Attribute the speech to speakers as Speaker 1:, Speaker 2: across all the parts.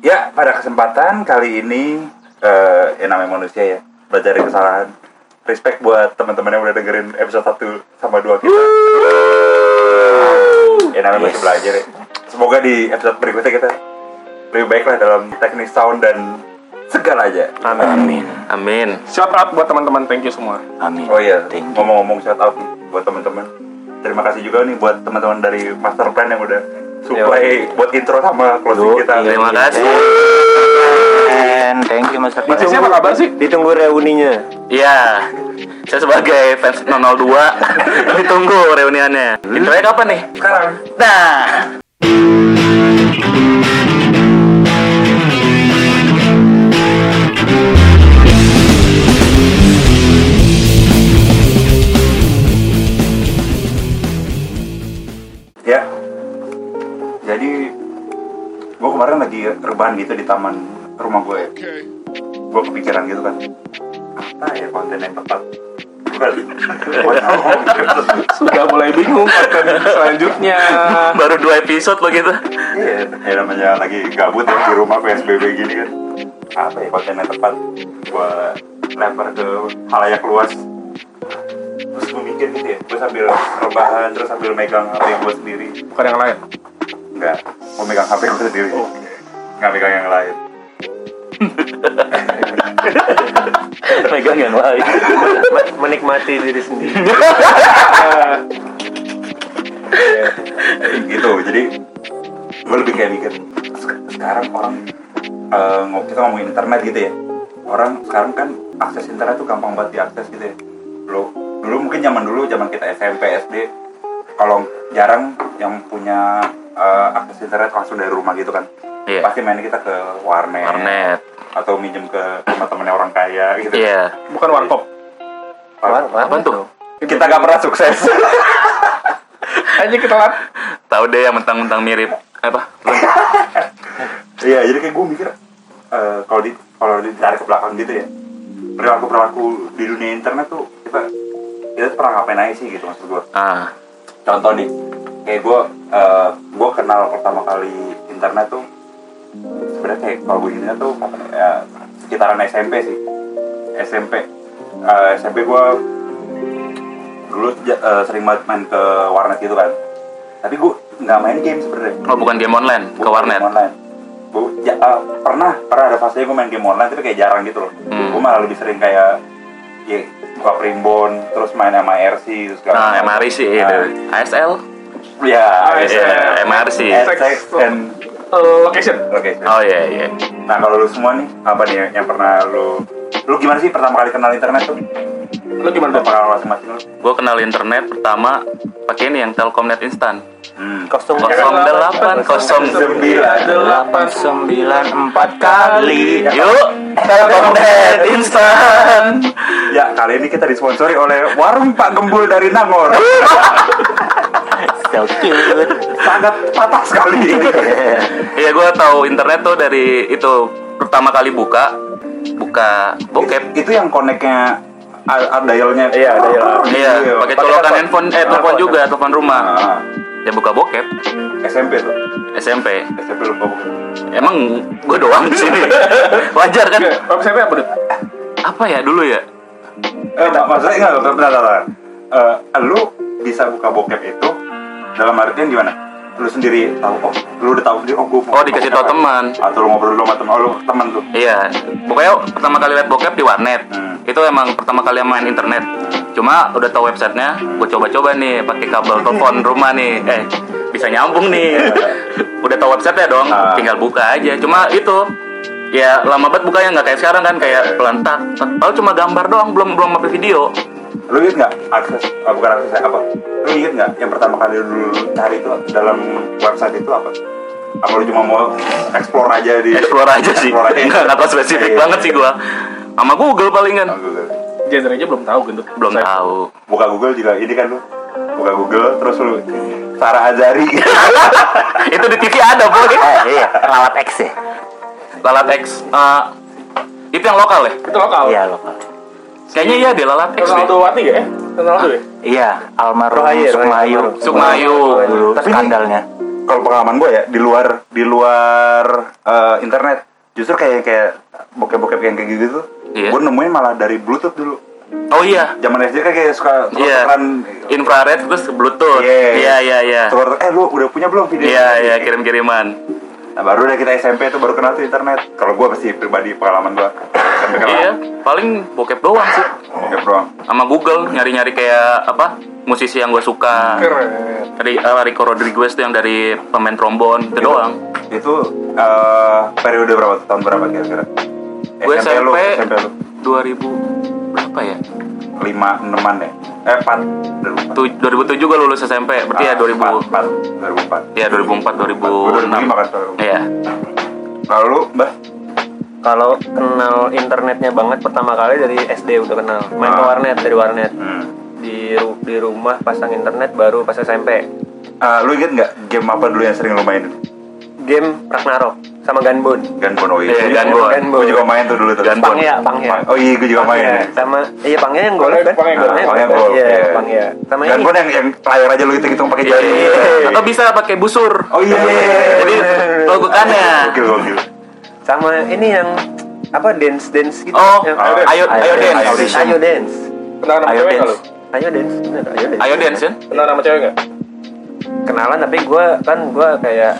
Speaker 1: Ya, pada kesempatan kali ini eh ya namanya manusia ya, belajar dari kesalahan. Respect buat teman-teman yang udah dengerin episode 1 sama 2 kita. Ya namanya masih
Speaker 2: Yes.
Speaker 1: belajar ya. Semoga di episode berikutnya kita lebih baik lah dalam teknis sound dan segalanya.
Speaker 2: Amin.
Speaker 3: Amin.
Speaker 4: Shout out buat teman-teman, thank you semua.
Speaker 2: Amin.
Speaker 1: Oh iya,
Speaker 2: Thank you.
Speaker 1: ngomong-ngomong shout out nih buat teman-teman. Terima kasih juga nih buat teman-teman dari Master Plan yang udah supply buat intro sama closing
Speaker 2: Yo,
Speaker 1: kita.
Speaker 2: iya.
Speaker 3: Terima kasih.
Speaker 2: And thank you Mas Akbar.
Speaker 4: Mas Akbar, apa kabar sih?
Speaker 2: Ditunggu reuninya.
Speaker 3: Iya. Saya sebagai fans 002 ditunggu reuniannya. Intronya kapan nih?
Speaker 1: Sekarang
Speaker 3: Nah.
Speaker 1: Ya. Jadi gue kemarin lagi rebahan gitu di taman rumah gue. Gue kepikiran gitu kan. Apa ya konten yang tepat? Buat ngomong.
Speaker 4: Sudah mulai bingung konten selanjutnya.
Speaker 3: Baru dua episode lo gitu.
Speaker 1: Iya, ya namanya lagi gabut ya di rumah PSBB gini kan. Apa ya konten yang tepat? Gue lempar ke halayak luas. Terus gue mikir gitu ya, gue sambil rebahan, terus sambil megang HP gue sendiri.
Speaker 4: Bukan yang lain.
Speaker 1: Enggak, mau megang HP gue sendiri. Nggak megang yang lain.
Speaker 2: Megang yang lain. Menikmati diri sendiri.
Speaker 1: gitu jadi gue lebih kayak mikir "Sek- sekarang orang eh, ngo- kita ngomongin internet gitu ya orang sekarang kan akses internet tuh gampang banget diakses gitu ya dulu dulu mungkin zaman dulu zaman kita SMP SD kalau jarang yang punya eh, akses internet langsung dari rumah gitu kan
Speaker 3: Iya.
Speaker 1: pasti main kita ke warnet,
Speaker 3: Internet.
Speaker 1: atau minjem ke teman temannya orang kaya gitu
Speaker 3: Iya.
Speaker 4: Bukan warkop.
Speaker 3: Apaan tuh?
Speaker 1: kita gak pernah sukses
Speaker 4: Aja kita telat.
Speaker 3: Tahu deh yang mentang-mentang mirip apa?
Speaker 1: Iya, jadi kayak gue mikir eh, kalau di kalau ditarik ke belakang gitu ya perilaku perilaku di dunia internet tuh kita kita tuh pernah ngapain aja sih gitu maksud gue.
Speaker 3: Ah,
Speaker 1: Contoh nih, kayak gue gue kenal pertama kali internet tuh sebenarnya kayak kalau gue ingat tuh kapan ya, ya, sekitaran SMP sih SMP Eh, SMP gue dulu ja- eh, sering banget main ke warnet gitu kan tapi gue nggak main game sebenarnya
Speaker 3: oh bukan game online, ke
Speaker 1: Gua main
Speaker 3: warnet.
Speaker 1: game online. Gua, ja- eh, pernah pernah ada fasenya gue main game online tapi kayak jarang gitu loh.
Speaker 3: Hmm.
Speaker 1: Gue malah lebih sering kayak ya, buka primbon, terus main MRC, terus segala
Speaker 3: Nah,
Speaker 1: macam.
Speaker 3: MRC sih itu.
Speaker 1: Nah,
Speaker 3: ASL?
Speaker 1: Iya,
Speaker 4: ASL.
Speaker 3: Iya, MRC.
Speaker 1: Sex and
Speaker 4: Eh, location.
Speaker 1: location.
Speaker 3: Oh iya iya.
Speaker 1: Nah kalau lu semua nih apa nih yang- yang pernah lu lu gimana sih pertama kali kenal internet tuh?
Speaker 4: Lu
Speaker 1: Udah
Speaker 4: gimana Dok?
Speaker 1: pengalaman masing-masing lu?
Speaker 3: Gue kenal internet pertama pakai ini yang Telkomnet instan.
Speaker 1: Hmm.
Speaker 2: Kostum
Speaker 3: Kosong delapan, kosong
Speaker 1: sembilan,
Speaker 2: delapan sembilan empat kali.
Speaker 3: Yuk, Telkomnet instan.
Speaker 1: Ya kali ini kita disponsori oleh warung Pak Gembul dari Nangor.
Speaker 2: So cute.
Speaker 1: Sangat patah sekali.
Speaker 3: Iya, gue tahu internet tuh dari itu pertama kali buka buka bokep.
Speaker 1: Itu yang koneknya ada dialnya.
Speaker 2: Iya, dial.
Speaker 1: Ah,
Speaker 3: Iya, pakai colokan handphone, eh telepon
Speaker 2: Telepon.
Speaker 3: juga, telepon rumah.
Speaker 1: ah.
Speaker 3: Ya buka bokep
Speaker 1: SMP tuh.
Speaker 3: SMP.
Speaker 1: SMP lu ngomong.
Speaker 3: Emang gue doang di sini. Wajar kan?
Speaker 4: Website apa, Dut?
Speaker 3: Apa ya dulu ya?
Speaker 1: Eh, enggak, maksudnya enggak, bentar, bentar, bentar. Eh, lu bisa buka bokep itu dalam artian gimana? Lu sendiri tahu oh, lu udah tahu sendiri oh gua mau
Speaker 3: Oh, dikasih
Speaker 1: buka
Speaker 3: tahu
Speaker 1: bokep. Ah,
Speaker 3: teman.
Speaker 1: Atau lu ngobrol dulu sama teman, oh, lu teman tuh.
Speaker 3: Iya, pokoknya pertama kali lihat bokep di warnet.
Speaker 1: Hmm.
Speaker 3: Itu emang pertama kali main internet. Cuma udah tahu websitenya, gue coba-coba nih pakai kabel telepon rumah nih. Eh, bisa nyambung nih. udah tahu websitenya dong,
Speaker 1: Iya. Ah.
Speaker 3: tinggal buka aja. Cuma itu ya lama banget bukanya nggak kayak sekarang kan kayak pelantak. Padahal cuma gambar doang, belum belum sampai video.
Speaker 1: Lu inget nggak akses ah, bukan akses apa? Lu inget nggak yang pertama kali lu cari itu dalam website itu apa? Apa lu cuma mau explore aja di
Speaker 3: Explore aja sih.
Speaker 1: Explore aja.
Speaker 3: Enggak enggak spesifik
Speaker 1: Iya.
Speaker 3: banget sih gua. Sama Google palingan.
Speaker 1: Sama Google.
Speaker 4: Genre aja belum tahu, Gendut.
Speaker 3: Belum
Speaker 4: Saya-
Speaker 3: tahu.
Speaker 1: buka Google juga ini kan lu buka Google terus lu Sarah Azari
Speaker 3: Itu di TV ada, Boy.
Speaker 2: Eh, iya, rawat X ya.
Speaker 3: Lalat X. eh, itu yang lokal ya?
Speaker 4: Itu lokal.
Speaker 2: Iya lokal.
Speaker 3: Kayaknya iya deh Lalat X. deh.
Speaker 4: Ronaldo Wati nggak ya? Ronaldo ya?
Speaker 2: Iya, almarhum
Speaker 5: Rohaye, Rohaye,
Speaker 3: iya.
Speaker 2: Sukmayu.
Speaker 5: almarhum.
Speaker 3: Sukmayu.
Speaker 2: Dulu skandalnya.
Speaker 1: kalau pengalaman gue ya di luar di luar eh, internet justru kayak kayak bokep-bokep yang kayak gitu tuh
Speaker 3: Iya.
Speaker 1: gue nemuin malah dari bluetooth dulu
Speaker 3: Oh iya.
Speaker 1: zaman SD kan kayak suka suka
Speaker 3: Iya.
Speaker 1: tukeran
Speaker 3: Infrared terus bluetooth.
Speaker 1: Iya.
Speaker 3: Iya iya iya.
Speaker 1: tuker- eh lu udah punya belum video gitu?
Speaker 3: Iya iya kirim-kiriman.
Speaker 1: nah, baru deh kita SMP tuh baru kenal tuh internet kalau gue pasti pribadi pengalaman gue SMP kenal
Speaker 3: Iya, paling bokep doang sih.
Speaker 1: bokep doang
Speaker 3: Sama Google nyari-nyari kayak apa? Musisi yang gue suka.
Speaker 4: Keren.
Speaker 3: Dari eh, Rico Rodriguez tuh yang dari pemain trombon
Speaker 1: Iya.
Speaker 3: itu doang.
Speaker 1: itu eh, periode berapa tuh? tahun berapa kira-kira
Speaker 3: Gue SMP,
Speaker 1: lu SMP lu
Speaker 3: 2000 berapa ya?
Speaker 1: lima enaman ya eh empat dari
Speaker 3: Tu- 2007 gue lulus SMP, berarti ya 2000
Speaker 1: Ah, empat dua ribu empat
Speaker 3: ya 2004
Speaker 1: lima kan
Speaker 3: 2006.
Speaker 1: tahun
Speaker 3: Iya.
Speaker 1: lalu mbah
Speaker 2: Kalau kenal internetnya banget pertama kali dari SD udah kenal. Main ke
Speaker 1: Ah.
Speaker 2: warnet dari warnet.
Speaker 1: hmm.
Speaker 2: Di ru- di rumah pasang internet baru pas SMP.
Speaker 1: Eh, lu inget nggak game apa dulu yang sering lu mainin
Speaker 2: Game Ragnarok sama Gunbon.
Speaker 1: Gunbon oh iya
Speaker 3: Iya,
Speaker 1: Gua juga-
Speaker 2: Gunbon.
Speaker 1: gua juga main tuh dulu tuh
Speaker 3: Gunbon.
Speaker 2: Pangya, Pangya.
Speaker 1: Pang- oh iya gue juga main ya.
Speaker 2: Pangya. Sama iya Pangya yang golok kan?
Speaker 4: Pangya yang golok.
Speaker 1: Nah, Pangnya
Speaker 2: golok.
Speaker 1: gol.
Speaker 2: Iya,
Speaker 1: Iya.
Speaker 2: Pangya. Sama ini.
Speaker 1: Gunbon yang yang layar aja lu hitung-hitung pakai
Speaker 3: Iya,
Speaker 1: jari.
Speaker 2: Iya.
Speaker 3: Atau bisa pakai busur.
Speaker 1: Oh iya.
Speaker 3: Jadi logokannya.
Speaker 1: Gokil gokil.
Speaker 2: Sama ini yang apa dance dance gitu.
Speaker 3: Oh,
Speaker 2: Yang-
Speaker 1: Ayo
Speaker 3: ayo ayo
Speaker 2: iya,
Speaker 1: Ayo
Speaker 3: dance.
Speaker 1: dance.
Speaker 2: Ayo dance.
Speaker 4: Kenal nama
Speaker 3: Ayo
Speaker 4: cewek nggak Kan lu?
Speaker 3: dance.
Speaker 2: Ayo dance. Bener, ayo dance.
Speaker 3: Ayo dance ya.
Speaker 4: Kenal nama cewek nggak?
Speaker 2: Kenalan tapi gue kan gue kayak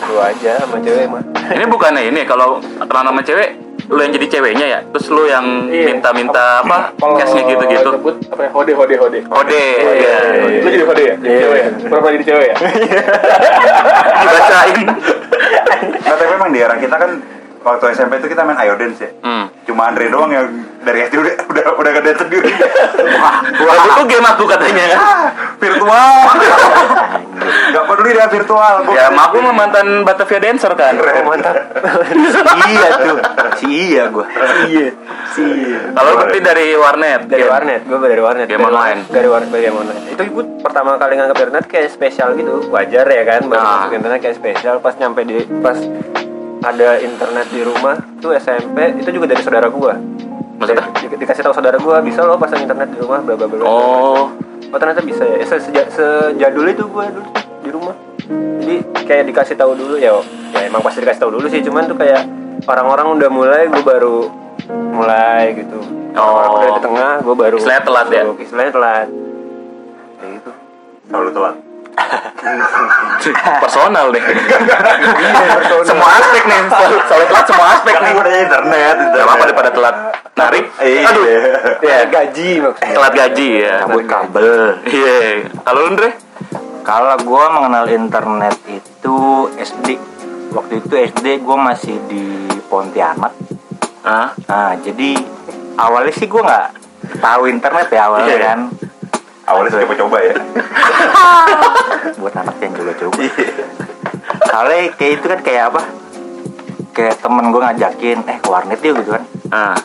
Speaker 2: gitu aja sama cewek mah.
Speaker 3: Ini bukannya ini kalau kenal nama cewek lu yang jadi ceweknya ya, terus lu yang
Speaker 4: Iya.
Speaker 3: minta-minta apa
Speaker 4: Kalau
Speaker 3: cashnya gitu-gitu.
Speaker 4: nyebut apa ya? Hode, hode, hode.
Speaker 3: Kode,
Speaker 2: Iya.
Speaker 3: iya.
Speaker 4: Lu jadi hode ya? Jadi
Speaker 2: Iya.
Speaker 4: cewek ya? Berapa jadi cewek ya?
Speaker 3: dibacain.
Speaker 1: Nah, tapi memang di era kita kan waktu SMP itu kita main ayo dance ya.
Speaker 3: Hmm.
Speaker 1: Cuma Andre doang yang dari SD udah udah udah gede sendiri. Wah,
Speaker 3: Wah, itu game aku katanya.
Speaker 1: virtual. Gak peduli dia virtual. Gua-
Speaker 3: Ya, maaf lu mah mantan Batavia dancer kan.
Speaker 2: Mantap. iya tuh. Si iya gue. Iya. Si iya.
Speaker 3: Kalau lu berarti dari warnet.
Speaker 2: dari
Speaker 3: Iya.
Speaker 2: warnet gue dari warnet
Speaker 3: Game
Speaker 2: dari,
Speaker 3: online.
Speaker 2: dari warnet dari game online itu gue pertama kali nganggap internet kayak spesial gitu wajar ya kan baru
Speaker 3: Nah.
Speaker 2: masuk internet kayak spesial pas nyampe di pas ada internet di rumah tuh SMP itu juga dari saudara gue
Speaker 3: Maksudnya?
Speaker 2: Di- dikasih tahu saudara gue bisa lo pasang internet di rumah bla bla bla
Speaker 3: Oh,
Speaker 2: oh ternyata bisa ya Se- seja- sejadul itu gue dulu di rumah jadi kayak dikasih tahu dulu ya ya emang pasti dikasih tahu dulu sih cuman tuh kayak orang-orang udah mulai gue baru mulai gitu Orang-orang
Speaker 3: Oh.
Speaker 2: udah di tengah gue baru
Speaker 3: Istilahnya telat ya?
Speaker 2: baru- istilahnya telat
Speaker 1: Selalu telat.
Speaker 3: personal deh. semua aspek nih, selalu selalu telat semua aspek
Speaker 1: Karena
Speaker 3: nih.
Speaker 1: gue nanya internet.
Speaker 3: Gak apa-apa daripada telat narik.
Speaker 1: Iya.
Speaker 3: Aduh,
Speaker 2: ya gaji maksudnya
Speaker 3: telat gaji ya.
Speaker 5: cabut kabel.
Speaker 3: Iya. Kalau lu Andre?
Speaker 5: Kalau gue mengenal internet itu SD. Waktu itu SD gue masih di Pontianak.
Speaker 3: Hah?
Speaker 5: Nah, jadi awalnya sih gue nggak tahu internet ya awalnya
Speaker 3: Iya.
Speaker 5: kan.
Speaker 1: Awalnya saya coba ya.
Speaker 5: Buat anak yang coba-coba. Soalnya kayak itu kan kayak apa? Kayak temen gue ngajakin, eh ke warnet yuk gitu kan.
Speaker 3: Ah,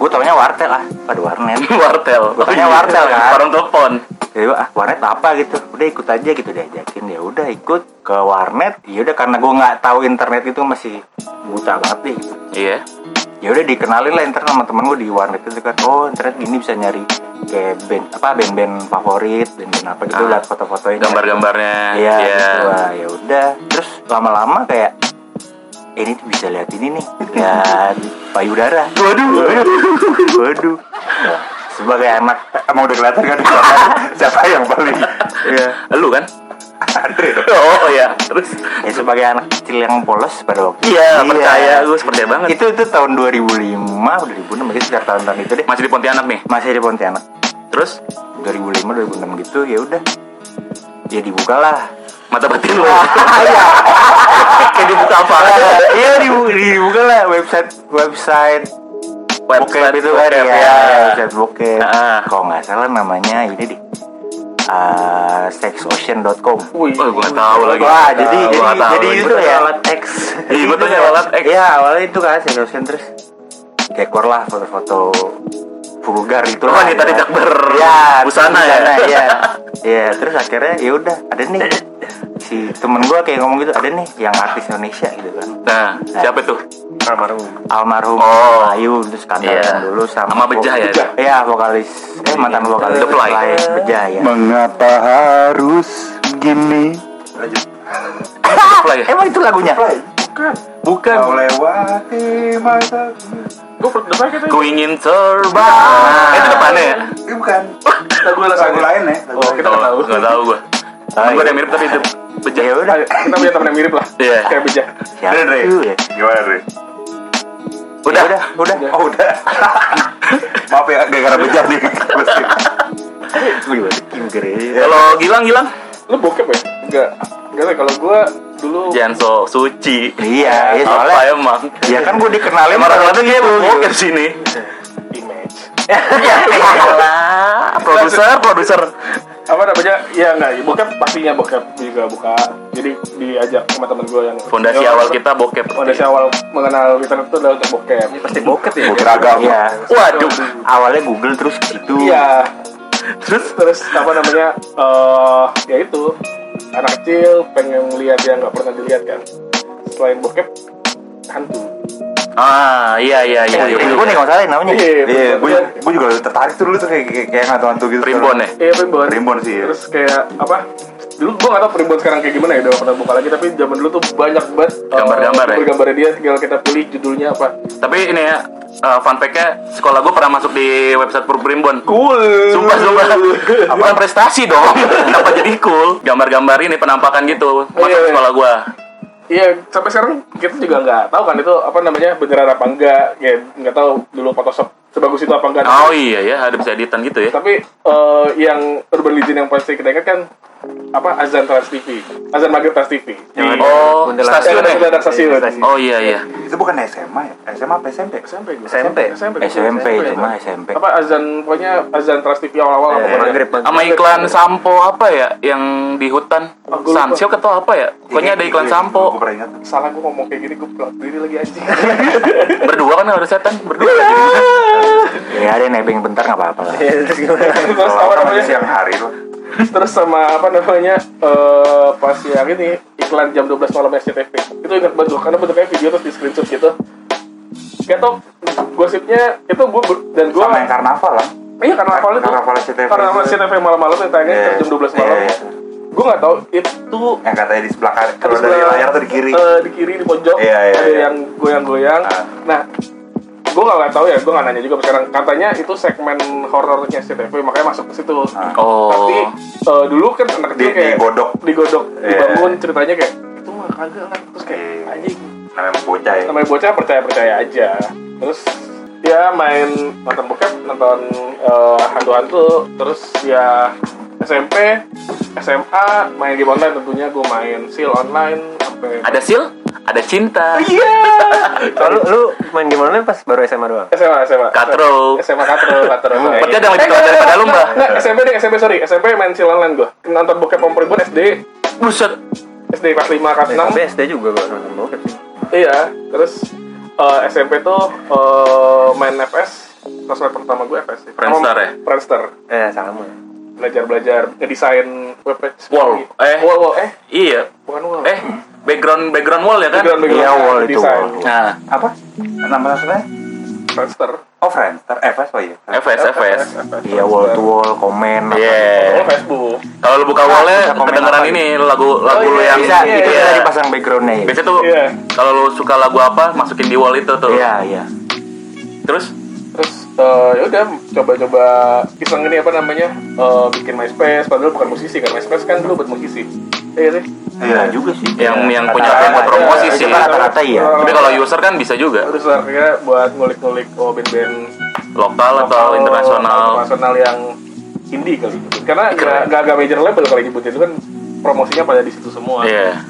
Speaker 5: Gue taunya wartel ah, aduh warnet.
Speaker 3: wartel. Iya.
Speaker 5: Bukannya wartel, kan?
Speaker 3: Warung telepon.
Speaker 5: ya ah warnet apa gitu udah ikut aja gitu diajakin ya udah ikut ke warnet ya udah karena gue nggak tahu internet itu masih buta banget nih gitu.
Speaker 3: Iya.
Speaker 5: ya udah dikenalin lah internet sama temen gue di warnet itu kan oh internet gini bisa nyari kayak band apa band-band favorit band-band apa gitu
Speaker 3: Ah.
Speaker 5: lihat foto-fotonya
Speaker 3: Gambar-gambarnya.
Speaker 5: Iya, gitu lah. ya udah. Terus lama-lama kayak "Eh, ini tuh bisa lihat ini nih, lihat payudara. Waduh, waduh. Nah, sebagai anak
Speaker 1: Emang udah kelihatan kan siapa, siapa yang paling
Speaker 5: ya,
Speaker 3: Lu kan?
Speaker 1: Andre dong.
Speaker 3: Oh iya. Terus
Speaker 5: ya sebagai anak kecil yang polos pada waktu itu.
Speaker 3: Iya, percaya gue percaya banget.
Speaker 5: Itu itu tahun 2005, 2006 mungkin sekitar tahun-tahun itu deh.
Speaker 3: Masih di Pontianak nih.
Speaker 5: Masih di Pontianak.
Speaker 3: Terus
Speaker 5: 2005, 2006 gitu ya udah. Ya dibukalah.
Speaker 3: mata batin lu.
Speaker 5: Kayak dibuka apa? Iya dibu- dibukalah website website bokep itu kan ya,
Speaker 3: bokep, iya.
Speaker 5: website bokep
Speaker 3: Ah.
Speaker 5: kalau nggak salah namanya ini deh uh, sexocean.com
Speaker 4: Wih.
Speaker 3: Oh, gue gak tahu lagi.
Speaker 5: wah jadi
Speaker 3: Gua
Speaker 5: jadi
Speaker 3: nggak tahu
Speaker 5: jadi
Speaker 3: lagi.
Speaker 5: itu ya
Speaker 2: alat X
Speaker 3: Iya, gue tanya alat X.
Speaker 5: ya awalnya itu kan sexocean terus kayak keluar lah foto-foto vulgar gitu
Speaker 3: Oh,
Speaker 5: lah
Speaker 3: wanita
Speaker 5: ya.
Speaker 3: tidak ber-
Speaker 5: ya,
Speaker 3: busana ya?
Speaker 5: iya iya terus akhirnya ya udah ada nih si temen gua kayak ngomong gitu ada nih yang artis Indonesia gitu kan
Speaker 3: Nah, siapa itu?
Speaker 2: almarhum
Speaker 5: almarhum
Speaker 3: Oh.
Speaker 5: Ayu terus kantor
Speaker 3: Iya.
Speaker 5: dulu sama
Speaker 3: Sama Bejah ya, itu?
Speaker 5: Iya, vokalis eh mantan vokalis
Speaker 3: The Fly.
Speaker 5: Bejah ya.
Speaker 1: Mengapa harus gini?
Speaker 3: Play.
Speaker 5: Ah, Emang itu lagunya?
Speaker 3: Bukan.
Speaker 1: Kau lewati masa
Speaker 4: Gue depan kita
Speaker 3: Ku ingin terbang. Eh, itu depannya ya?
Speaker 1: Ini bukan
Speaker 4: lagu
Speaker 1: Lagu lain ya lagu
Speaker 4: Oh,
Speaker 1: lain.
Speaker 4: kita nggak tahu.
Speaker 3: Nggak tahu gua. Temen gua ada yang mirip tapi itu bejat.
Speaker 5: Ya udah.
Speaker 4: Ayo, Kita punya teman yang mirip lah.
Speaker 3: Iya.
Speaker 4: Kayak bijak.
Speaker 5: Siapa
Speaker 1: Bener, Re.
Speaker 5: tuh ya?
Speaker 1: Gimana Re?
Speaker 3: Udah.
Speaker 5: Udah, udah.
Speaker 1: Oh udah Maaf ya gara-gara bejat nih
Speaker 5: Gue juga Kim Gere.
Speaker 3: Kalau Gilang, Gilang.
Speaker 4: Lu bokep ya? Enggak. Enggak lah kalau gue dulu
Speaker 3: Jangan sok suci.
Speaker 5: Iya, iya soalnya.
Speaker 3: Apa emang?
Speaker 5: Ya kan gue dikenalin
Speaker 3: Emang rata-rata dia
Speaker 5: gitu.
Speaker 3: bokep di sini.
Speaker 4: image.
Speaker 3: Yalah, produser, produser.
Speaker 4: Apa namanya? Ya enggak, ya, bokep pastinya bokep juga buka. Jadi diajak sama teman gue yang
Speaker 3: Fondasi
Speaker 4: yang-
Speaker 3: awal kita bokep.
Speaker 4: Iya, Fondasi awal mengenal internet itu adalah untuk bokep.
Speaker 2: Pasti boket ya.
Speaker 1: Beragam
Speaker 5: Iya.
Speaker 3: Waduh.
Speaker 5: Awalnya Google terus gitu. ke situ.
Speaker 4: Iya.
Speaker 3: Terus
Speaker 4: Terus apa namanya? Eh, ya itu anak kecil pengen lihat yang nggak pernah dilihat kan. Selain bokep, hantu.
Speaker 3: Ah, iya iya iya.
Speaker 5: Puyuh
Speaker 3: iya.
Speaker 5: Puyuh nih kalau salah ya namanya.
Speaker 1: Iya,
Speaker 4: betul.
Speaker 1: gue gue juga tertarik tuh dulu tuh kayak kayak kayak ngantuk-ngantuk gitu.
Speaker 3: Primbon ya.
Speaker 4: Iya primbon.
Speaker 1: Primbon sih, ya.
Speaker 4: Terus kayak apa? Dulu gua gak tau primbon sekarang kayak gimana ya udah gak pernah buka lagi tapi zaman dulu tuh banyak banget eh,
Speaker 3: Gambar-gambar ya?
Speaker 4: gambarnya dia tinggal kita pilih judulnya apa.
Speaker 3: Tapi ini ya, eh, fun fact-nya sekolah gue pernah masuk di website Primbon.
Speaker 4: Cool.
Speaker 3: Sumpah, sumpah. Bukan prestasi dong. Kenapa jadi cool? Gambar-gambar ini penampakan gitu. Masuk
Speaker 4: Iya, iya.
Speaker 3: sekolah gue.
Speaker 4: Iya, sampai sekarang kita juga nggak tahu kan itu apa namanya beneran apa enggak. Ya nggak tahu dulu Photoshop sebagus itu apa enggak.
Speaker 3: Oh iya ya, ada bisa editan gitu ya.
Speaker 4: Tapi eh, yang urban legend yang pasti kita ingat kan apa azan Trans TV, azan maghrib Trans Iya. TV.
Speaker 2: Yang ada
Speaker 3: Oh,
Speaker 2: kuntilanak.
Speaker 3: stasiun
Speaker 4: Yang ada
Speaker 3: ya.
Speaker 4: stasiun.
Speaker 2: Stasiun.
Speaker 3: Oh iya iya.
Speaker 1: Itu bukan SMA ya? SMA apa SMP?
Speaker 4: SMP
Speaker 1: Iya,
Speaker 4: gua.
Speaker 2: SMP.
Speaker 4: SMP.
Speaker 5: SMP itu mah SMP.
Speaker 4: Apa azan pokoknya azan Trans TV awal-awal apa pokoknya.
Speaker 2: Maghrib maghrib.
Speaker 3: Sama iklan sampo apa ya yang di hutan?
Speaker 4: Aku lupa. Iya,
Speaker 3: Sansio atau apa ya? Pokoknya ada iklan
Speaker 1: Gue
Speaker 3: sampo.
Speaker 1: iya, pernah ingat.
Speaker 4: salah gue ngomong kayak gini gue plot diri lagi anjing
Speaker 3: Berdua kan harus setan, berdua.
Speaker 4: Iya.
Speaker 5: Ya ada yang nebeng bentar nggak apa-apa lah.
Speaker 2: Iya, terus gimana?
Speaker 4: terus
Speaker 1: Kalau
Speaker 4: apa
Speaker 1: sama di
Speaker 4: namanya
Speaker 1: siang hari tuh.
Speaker 4: terus sama apa namanya eh pas yang ini iklan jam 12 malam SCTV itu ingat banget gue karena bentuknya video terus di screenshot gitu Gak tau gosipnya itu gue dan gue
Speaker 1: Sama yang karnaval kan? lah.
Speaker 4: iya karena awalnya tuh
Speaker 1: Karnaval SCTV.
Speaker 4: karena SCTV malam-malam yang tayangnya
Speaker 1: Iya,
Speaker 4: jam 12 malam
Speaker 1: iya, iya.
Speaker 4: gue gak tau itu
Speaker 1: Yang katanya di sebelah kanan. Kalau
Speaker 4: Terus
Speaker 1: dari
Speaker 4: gua-
Speaker 1: layar tuh di kiri.
Speaker 4: eh, di kiri di pojok
Speaker 1: Iya, iya,
Speaker 4: ada
Speaker 1: iya.
Speaker 4: yang goyang-goyang
Speaker 1: Ah.
Speaker 4: nah gue gak, tahu ya gue gak nanya juga sekarang katanya itu segmen horornya CTV makanya masuk ke situ
Speaker 1: Ah.
Speaker 4: tapi
Speaker 3: Oh.
Speaker 4: eh, dulu kan anak kecil
Speaker 1: Di-
Speaker 4: kayak
Speaker 1: digodok.
Speaker 4: digodok
Speaker 1: Iya.
Speaker 4: dibangun ceritanya kayak itu mah kagak lah terus kayak
Speaker 1: Iya.
Speaker 4: anjing
Speaker 1: Namanya bocah ya.
Speaker 4: namanya bocah percaya percaya aja terus ya main nonton bokep nonton eh, hantu-hantu terus ya SMP SMA main game online tentunya gue main seal online sampai
Speaker 3: Ada sil, ada cinta.
Speaker 4: Iya.
Speaker 3: Iya.
Speaker 2: Kalau lu main game online pas baru SMA doang.
Speaker 4: SMA SMA
Speaker 3: Katro. Hmm,
Speaker 4: SMA Katro Katro Eh,
Speaker 3: Berarti ada yang lebih tua daripada lu, Mbak.
Speaker 4: Enggak, SMP deh SMP sorry SMP main seal online gue nonton bokep om Primbon SD
Speaker 3: Buset.
Speaker 4: SD kelas 5 kelas
Speaker 2: Eh,
Speaker 4: 6
Speaker 2: Tapi SD juga gua nonton bokep sih.
Speaker 4: Iya, terus eh, SMP tuh eh, main FS, sosmed pertama gue FS sih.
Speaker 3: Friendster ya?
Speaker 4: Friendster.
Speaker 2: Eh, sama.
Speaker 4: Belajar-belajar ngedesain web page.
Speaker 3: Wall. Eh.
Speaker 4: Wall, wall. Eh,
Speaker 3: Iya.
Speaker 4: bukan wall.
Speaker 3: Eh, background background wall ya kan?
Speaker 4: Background-background
Speaker 5: Iya, wall itu,
Speaker 4: desain.
Speaker 5: wall.
Speaker 3: Nah,
Speaker 1: Apa? Nama sosmednya?
Speaker 4: Friendster.
Speaker 1: Oh Friendster. Eh, apa ya?
Speaker 3: FS FS.
Speaker 5: Iya wall to wall komen. gitu.
Speaker 3: Iya.
Speaker 4: Wall Oh, Facebook.
Speaker 3: Kalau lu buka wallnya
Speaker 5: Bisa komen
Speaker 3: kedengeran
Speaker 5: apa
Speaker 3: ini lagu lagu
Speaker 4: Oh,
Speaker 3: lu
Speaker 4: iya,
Speaker 3: yang ya.
Speaker 5: Bisa
Speaker 4: Iya,
Speaker 5: itu
Speaker 4: iya.
Speaker 5: dari pasang backgroundnya ya.
Speaker 3: Biasanya tuh
Speaker 4: Iya.
Speaker 3: kalau lu suka lagu apa masukin di wall itu tuh.
Speaker 5: Iya iya.
Speaker 3: Terus
Speaker 4: Terus eh, ya udah coba-coba iseng ini apa namanya? eh, bikin MySpace padahal bukan musisi kan. MySpace kan dulu buat musisi. Iya sih.
Speaker 5: Iya juga sih.
Speaker 3: yang yang punya akun
Speaker 5: Rata-rata
Speaker 3: buat
Speaker 5: ada.
Speaker 3: promosi
Speaker 5: Itu
Speaker 3: sih.
Speaker 5: kan Rata-rata iya.
Speaker 3: Tapi kalau user kan bisa juga
Speaker 4: terus akhirnya buat ngulik-ngulik oh band-band
Speaker 3: lokal
Speaker 4: lokal,
Speaker 3: atau internasional.
Speaker 4: internasional yang indie kali gitu. karena nggak nggak nggak major label kalau nyebutin itu kan promosinya pada di situ semua
Speaker 3: Iya.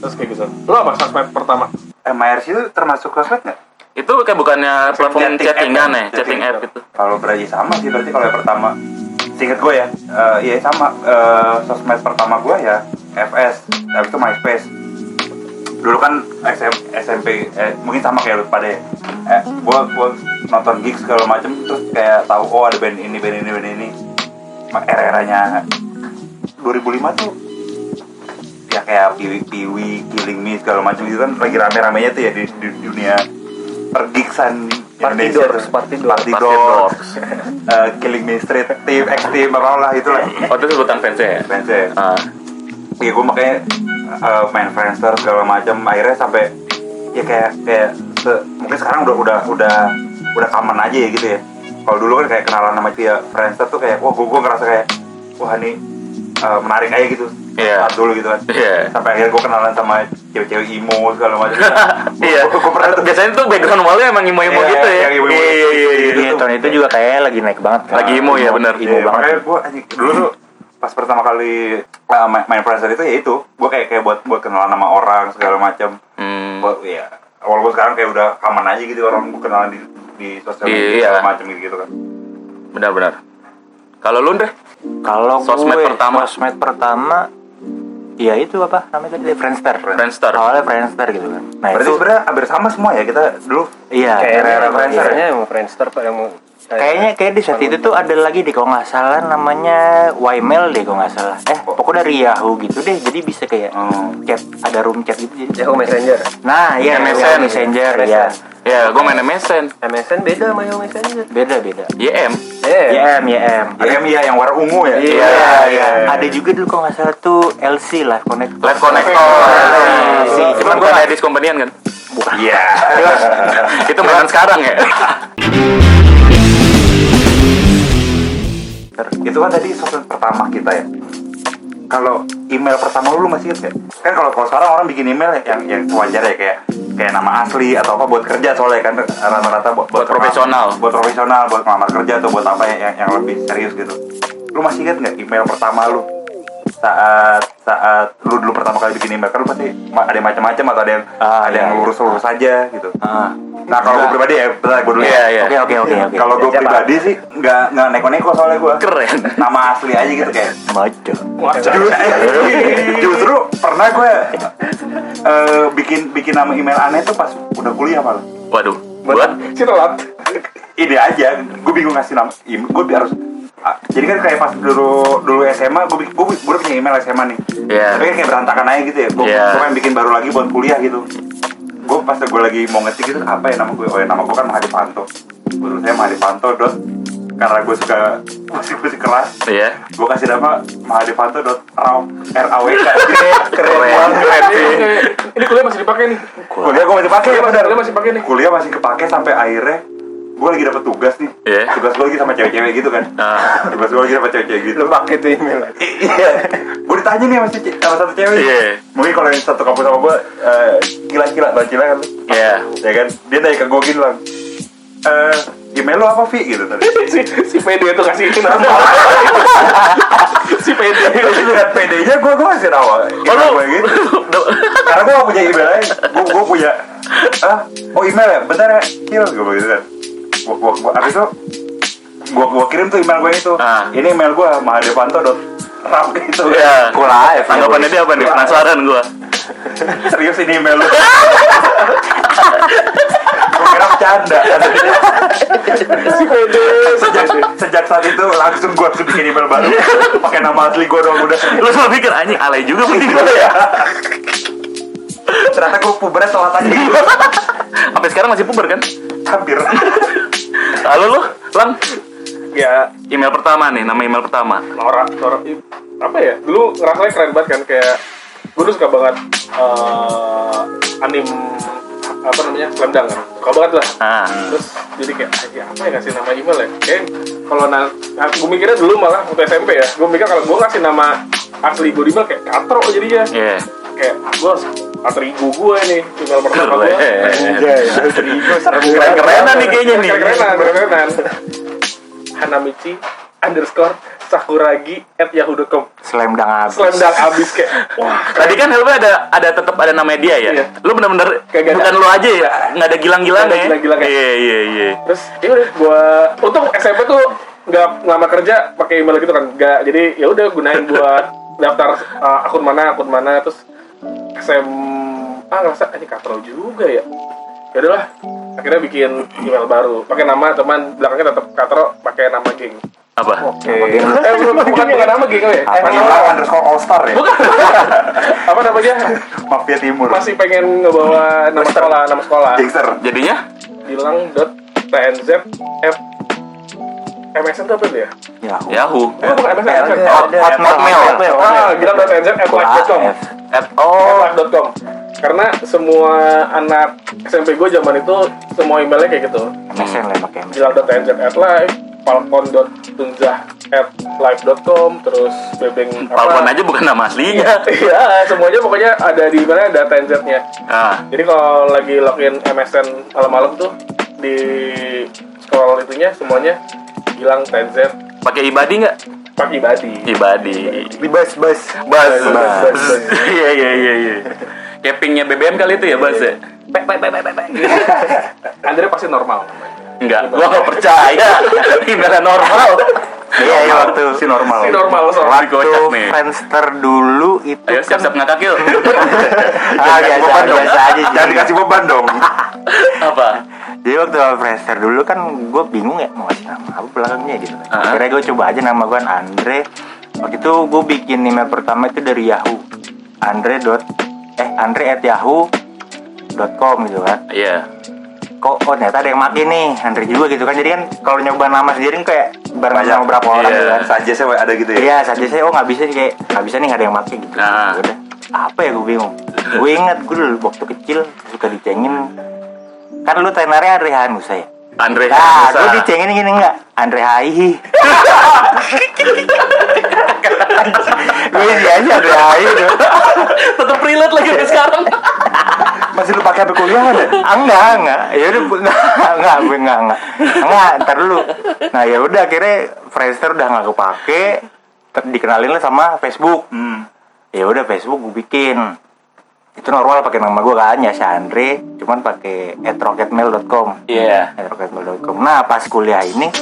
Speaker 4: terus kayak gitu lo apa sosmed pertama
Speaker 1: Eh, MyRC itu termasuk sosmed nggak?
Speaker 3: Itu kayak bukannya
Speaker 1: Chatting
Speaker 3: platform
Speaker 1: app
Speaker 3: chattingan
Speaker 1: ya?
Speaker 3: ya, chatting
Speaker 1: Chatting
Speaker 3: app
Speaker 1: app.
Speaker 3: gitu.
Speaker 1: Kalau berarti sama sih berarti kalau yang pertama singkat gue ya, eh, iya sama eh, sosmed pertama gue ya FS, habis itu MySpace. Dulu kan SM, SMP eh, mungkin sama kayak lu pada ya. Eh, gue gue nonton gigs segala macem terus kayak tahu oh ada band ini band ini band ini. Ma- Era-eranya 2005 tuh ya kayak Piwi Piwi, Killing Me segala macam itu kan lagi rame-ramenya tuh ya di, di dunia pergiksan
Speaker 2: Party
Speaker 1: Indonesia
Speaker 2: Dogs,
Speaker 1: tuh.
Speaker 2: Party Dogs.
Speaker 1: Party
Speaker 3: Party
Speaker 1: Dogs,
Speaker 3: Dogs.
Speaker 1: eh, Killing Me Street Team, X Team, apa lah itu lah
Speaker 3: Oh itu sebutan fansnya ya?
Speaker 1: fansnya
Speaker 3: Ah.
Speaker 1: ya gue makanya eh, main Friendster segala macam akhirnya sampai ya kayak kayak se- mungkin sekarang udah udah udah udah common aja ya gitu ya kalau dulu kan kayak kenalan sama dia Friendster tuh kayak wah gue gue ngerasa kayak wah ini eh, menarik aja gitu
Speaker 3: Iya.
Speaker 1: saat dulu gitu kan
Speaker 3: Iya.
Speaker 1: sampai akhirnya gue kenalan sama cewek-cewek imo segala macam
Speaker 3: Iya.
Speaker 1: Gua- gua pernah tuh.
Speaker 3: Biasanya tuh background malu emang imo-imo
Speaker 1: Iya,
Speaker 3: gitu ya.
Speaker 1: yang imo-imo.
Speaker 3: Iya iya iya.
Speaker 5: Iya, tahun itu juga kayaknya lagi naik banget. kan.
Speaker 3: Lagi emo ya, bener.
Speaker 5: Emo
Speaker 1: Nah, Iya,
Speaker 5: banget.
Speaker 1: makanya gue anjing dulu tuh pas pertama kali uh, main, main Friendster itu ya itu gue kayak kayak buat buat kenalan sama orang segala macam
Speaker 3: Hmm.
Speaker 1: buat ya walaupun sekarang kayak udah aman aja gitu orang gua kenalan di di sosial
Speaker 3: Iya.
Speaker 1: media segala macam gitu, kan
Speaker 3: Benar-benar. Kalau lu Ndre?
Speaker 5: Kalau
Speaker 3: Sosmed
Speaker 5: gue,
Speaker 3: pertama.
Speaker 5: sosmed pertama, ya itu apa namanya tadi Friendster.
Speaker 3: Friendster.
Speaker 5: Awalnya Friendster gitu kan. Nah
Speaker 1: berarti
Speaker 5: itu
Speaker 1: sebenarnya hampir sama semua ya kita dulu
Speaker 5: iya.
Speaker 3: Ah,
Speaker 2: kayak
Speaker 1: era-era
Speaker 2: era
Speaker 1: Friendster
Speaker 2: Friendster-nya
Speaker 3: ya?
Speaker 2: emang Friendster ya? pak yang mau
Speaker 5: Kayaknya kayak di saat itu tuh ada lagi deh kalau nggak salah namanya Ymail deh kalau nggak salah. Eh pokoknya dari Yahoo gitu deh. Jadi bisa kayak
Speaker 1: Hmm.
Speaker 5: chat ada room chat gitu. Jadi.
Speaker 2: Yahoo Ya, Messenger
Speaker 5: Nah iya
Speaker 3: MSN.
Speaker 5: Yahoo Messenger ya.
Speaker 3: Ya, gue main MSN.
Speaker 2: MSN Eh, beda sama Yahoo Messenger
Speaker 5: Beda beda.
Speaker 3: YM.
Speaker 2: eh
Speaker 5: YM YM.
Speaker 1: ya iya yang warna ungu ya
Speaker 2: Iya,
Speaker 5: iya. Ada juga dulu kalau nggak salah tuh LC Live Connect.
Speaker 3: Live Connector.
Speaker 5: sih,
Speaker 3: Cuman
Speaker 5: cuman
Speaker 3: bukan
Speaker 5: gua-
Speaker 3: Edis Companion kan?
Speaker 5: Bukan.
Speaker 1: iya
Speaker 3: Itu mainan sekarang ya.
Speaker 1: itu kan tadi sosmed pertama kita ya kalau email pertama lu lu masih inget gak? kan kalau kalau sekarang orang bikin email yang yang wajar ya kayak kayak nama asli atau apa buat kerja soalnya kan rata-rata buat,
Speaker 3: Buat profesional.
Speaker 1: buat profesional buat ngelamar kerja atau buat apa ya, yang yang lebih serius gitu lu masih inget nggak email pertama lu saat saat lu dulu pertama kali bikin email kan lu pasti ma- ada yang macam-macam atau ada yang
Speaker 5: Ah,
Speaker 1: ada yang
Speaker 5: iya, iya.
Speaker 1: lurus-lurus aja gitu
Speaker 5: Ah.
Speaker 1: nah kalau gue pribadi ya bentar gue dulu
Speaker 3: Iya, iya.
Speaker 1: ya
Speaker 5: Oke oke oke oke.
Speaker 1: kalau gue
Speaker 2: Siapa?
Speaker 1: pribadi sih nggak nggak neko-neko soalnya gue
Speaker 3: Keren.
Speaker 1: nama asli aja gitu kayak
Speaker 5: Maco.
Speaker 1: Justru- justru pernah gue eh, bikin bikin nama email aneh tuh pas udah kuliah malah
Speaker 3: Waduh. Buat
Speaker 4: Cirelat.
Speaker 1: ini aja gue bingung ngasih nama email gue harus ah, jadi kan kayak pas dulu dulu SMA gue gue gue punya email SMA nih
Speaker 3: Iya.
Speaker 1: tapi kan kayak berantakan aja gitu ya gue
Speaker 3: Iya.
Speaker 1: gue pengen bikin baru lagi buat kuliah gitu gue pas gue lagi mau ngetik gitu apa ya nama gue oh ya nama gue kan Mahadi Panto gue tulisnya Mahadi Panto dot karena gue suka musik musik keras
Speaker 3: Iya.
Speaker 1: gue kasih nama mahadevanto dot raw r a w k
Speaker 3: Keren keren sih.
Speaker 4: Ini, ini kuliah masih dipakai nih.
Speaker 1: kuliah gue masih pakai
Speaker 4: Kuliah masih,
Speaker 1: bener.
Speaker 4: kuliah masih pakai nih.
Speaker 1: kuliah masih kepake sampai akhirnya gue lagi dapet tugas nih
Speaker 3: Iya.
Speaker 1: tugas gue lagi sama cewek-cewek gitu kan
Speaker 3: Ah.
Speaker 1: tugas gue lagi sama cewek-cewek gitu
Speaker 2: lu pakai tuh email
Speaker 1: iya gue ditanya nih sama, si ce- sama satu cewek
Speaker 3: Iya.
Speaker 1: mungkin kalau yang satu kampus sama gue gila-gila bang gila kan
Speaker 3: Iya.
Speaker 1: ya kan dia tanya ke gue gini lang eh email lo apa Vi gitu tadi
Speaker 4: Si, si PD itu kasih ini nama. si PD.
Speaker 1: terus dengan PD-nya gue gue masih nawa
Speaker 3: Oh, lu-
Speaker 1: gue gitu karena gue gak punya email lain gue gue punya ah oh email ya bentar ya kill gue begitu kan gue gue gue abis itu gue gue kirim tuh email gue itu
Speaker 3: Ah.
Speaker 1: ini email gue mahadevanto dot ram gitu
Speaker 3: Iya.
Speaker 5: Live.
Speaker 3: Tanggapannya dia apa nih? Penasaran gua.
Speaker 1: serius ini email lu gue kira bercanda sejak sejak saat itu langsung gue langsung bikin email baru pakai nama asli gue dong udah
Speaker 3: Lu selalu pikir anjing alay juga mungkin gua ya.
Speaker 1: ternyata gue pubernya telat aja gitu
Speaker 3: Sampai sekarang masih puber kan?
Speaker 1: hampir
Speaker 3: Lalu lu, Lang,
Speaker 4: Ya,
Speaker 3: email pertama nih, nama email pertama.
Speaker 4: Nora, Nora i- apa ya? Dulu ngerasanya keren banget kan kayak gue dulu suka banget eh, anim apa namanya slam dunk kan suka banget lah
Speaker 3: Ah,
Speaker 4: terus jadi kayak ya apa ya kasih nama email ya kayak kalau na nah, gue mikirnya dulu malah waktu SMP ya gue mikir kalau gue ngasih nama asli gue di email kayak katro jadinya
Speaker 3: iya.
Speaker 4: kayak ah, gue harus atur igu gue nih email pertama gue
Speaker 3: Keren.
Speaker 2: Iya,
Speaker 4: Kerenan
Speaker 3: Keren-kerenan nih kayaknya nih.
Speaker 4: Kerenan, kerenan. Hanamichi underscore sakuragi at yahoo.com
Speaker 5: Slam dunk abis.
Speaker 4: Slam dunk abis kayak wah
Speaker 3: Tadi kan Helmy ada ada tetap ada nama dia ya.
Speaker 4: Iya.
Speaker 3: Lu benar-benar
Speaker 4: Kagak ada.
Speaker 3: bukan lu aja ya, nggak ada gilang-gilang
Speaker 4: Nggak ada
Speaker 3: ya.
Speaker 4: gilang-gilang ya.
Speaker 3: Iya iya iya.
Speaker 4: terus ya udah gua untung SMP tuh nggak ngelamar kerja pakai email gitu kan nggak jadi ya udah gunain buat daftar uh, akun mana akun mana terus SMA ngerasa "Ah, ini katro juga ya ya udahlah akhirnya bikin email baru pakai nama teman belakangnya tetap katro pakai nama geng
Speaker 3: Apa?
Speaker 4: eh bukan bukan bukan nama geng apa ya
Speaker 1: apa
Speaker 4: Eh,
Speaker 1: email underscore all star ya
Speaker 4: apa namanya
Speaker 1: mafia timur
Speaker 4: masih pengen ngebawa nama sekolah nama sekolah
Speaker 3: Iya.
Speaker 1: gangster
Speaker 3: Jadinya
Speaker 4: bilang dot tnz f msn tuh apa itu ya
Speaker 5: Yahoo.
Speaker 3: Yahoo.
Speaker 4: Oh, bukan MSN, MSN.
Speaker 5: Hotmail.
Speaker 4: Ah, bilang dot tnz f
Speaker 5: Wah,
Speaker 4: live.com.
Speaker 5: F.
Speaker 3: At- oh,
Speaker 4: Atlab.com. karena semua anak SMP gue zaman itu semua emailnya kayak gitu
Speaker 5: MSN lah pakai MSN.
Speaker 4: jilat.nz@live falcon.tunzah@live.com terus bebeng apa
Speaker 3: Falcon aja bukan nama aslinya.
Speaker 4: iya semuanya pokoknya ada di mana ada nya
Speaker 3: Nah,
Speaker 4: jadi kalau lagi login MSN malam-malam tuh di scroll itunya semuanya hilang TNZ
Speaker 3: pakai ibadi nggak?
Speaker 4: pakai badi
Speaker 3: Ibadi.
Speaker 2: di bus bus
Speaker 3: Bas.
Speaker 5: Bas.
Speaker 3: Bus. Iya iya iya iya. Kepingnya BBM kali itu ya Bas
Speaker 4: Iya.
Speaker 3: ya?
Speaker 2: baik baik baik baik baik
Speaker 4: Andre pasti normal
Speaker 3: Enggak, gua nggak percaya. Gimana normal?
Speaker 5: Iya, iya waktu si normal.
Speaker 4: si normal soalnya
Speaker 3: Wah.
Speaker 5: Waktu
Speaker 3: Kocak nih.
Speaker 5: Friendster dulu itu
Speaker 3: Ayo siap-siap ngakak yuk.
Speaker 5: ah, biasa, biasa aja
Speaker 6: Jangan
Speaker 5: jadi.
Speaker 6: dikasih beban dong.
Speaker 3: Apa?
Speaker 5: Jadi waktu awal Friendster dulu kan gue bingung ya mau kasih nama apa belakangnya gitu.
Speaker 3: Ah.
Speaker 5: Akhirnya gue coba aja nama gue Andre. Waktu itu gue bikin email pertama itu dari Yahoo. Andre dot eh Andre at Yahoo dot com gitu kan.
Speaker 3: Iya.
Speaker 5: Kok oh, ternyata ada yang make nih Andre juga gitu kan. Jadi kan kalau nyoba nama sendiri kan kayak bareng sama berapa
Speaker 3: Iya.
Speaker 5: orang gitu kan.
Speaker 1: saja saya ada gitu ya
Speaker 5: Iya, saja saya oh nggak bisa nih, kayak nggak bisa nih nggak ada yang pakai gitu.
Speaker 3: Nah.
Speaker 5: Udah apa ya gue bingung. gue ingat gue dulu waktu kecil suka dicengin. Kan lu tenernya Andre Hanusa ya.
Speaker 3: Andre
Speaker 5: Nah,
Speaker 3: Hanusa.
Speaker 5: gue dicengin gini enggak? Andre Haihi. gue ini aja Andre iya, Haihi tuh.
Speaker 3: Tetep relate lagi sampai sekarang.
Speaker 6: Masih lu pakai sampai kuliahan ya?
Speaker 5: Ah, enggak enggak ya udah bu- enggak enggak gue enggak enggak enggak ntar dulu nah ya udah akhirnya Friendster udah nggak kepake ter- dikenalin lah sama Facebook ya udah Facebook gue bikin itu normal pakai nama gue kan ya Andre cuman pakai @rocketmail.com
Speaker 3: Iya.
Speaker 5: @rocketmail.com nah pas kuliah ini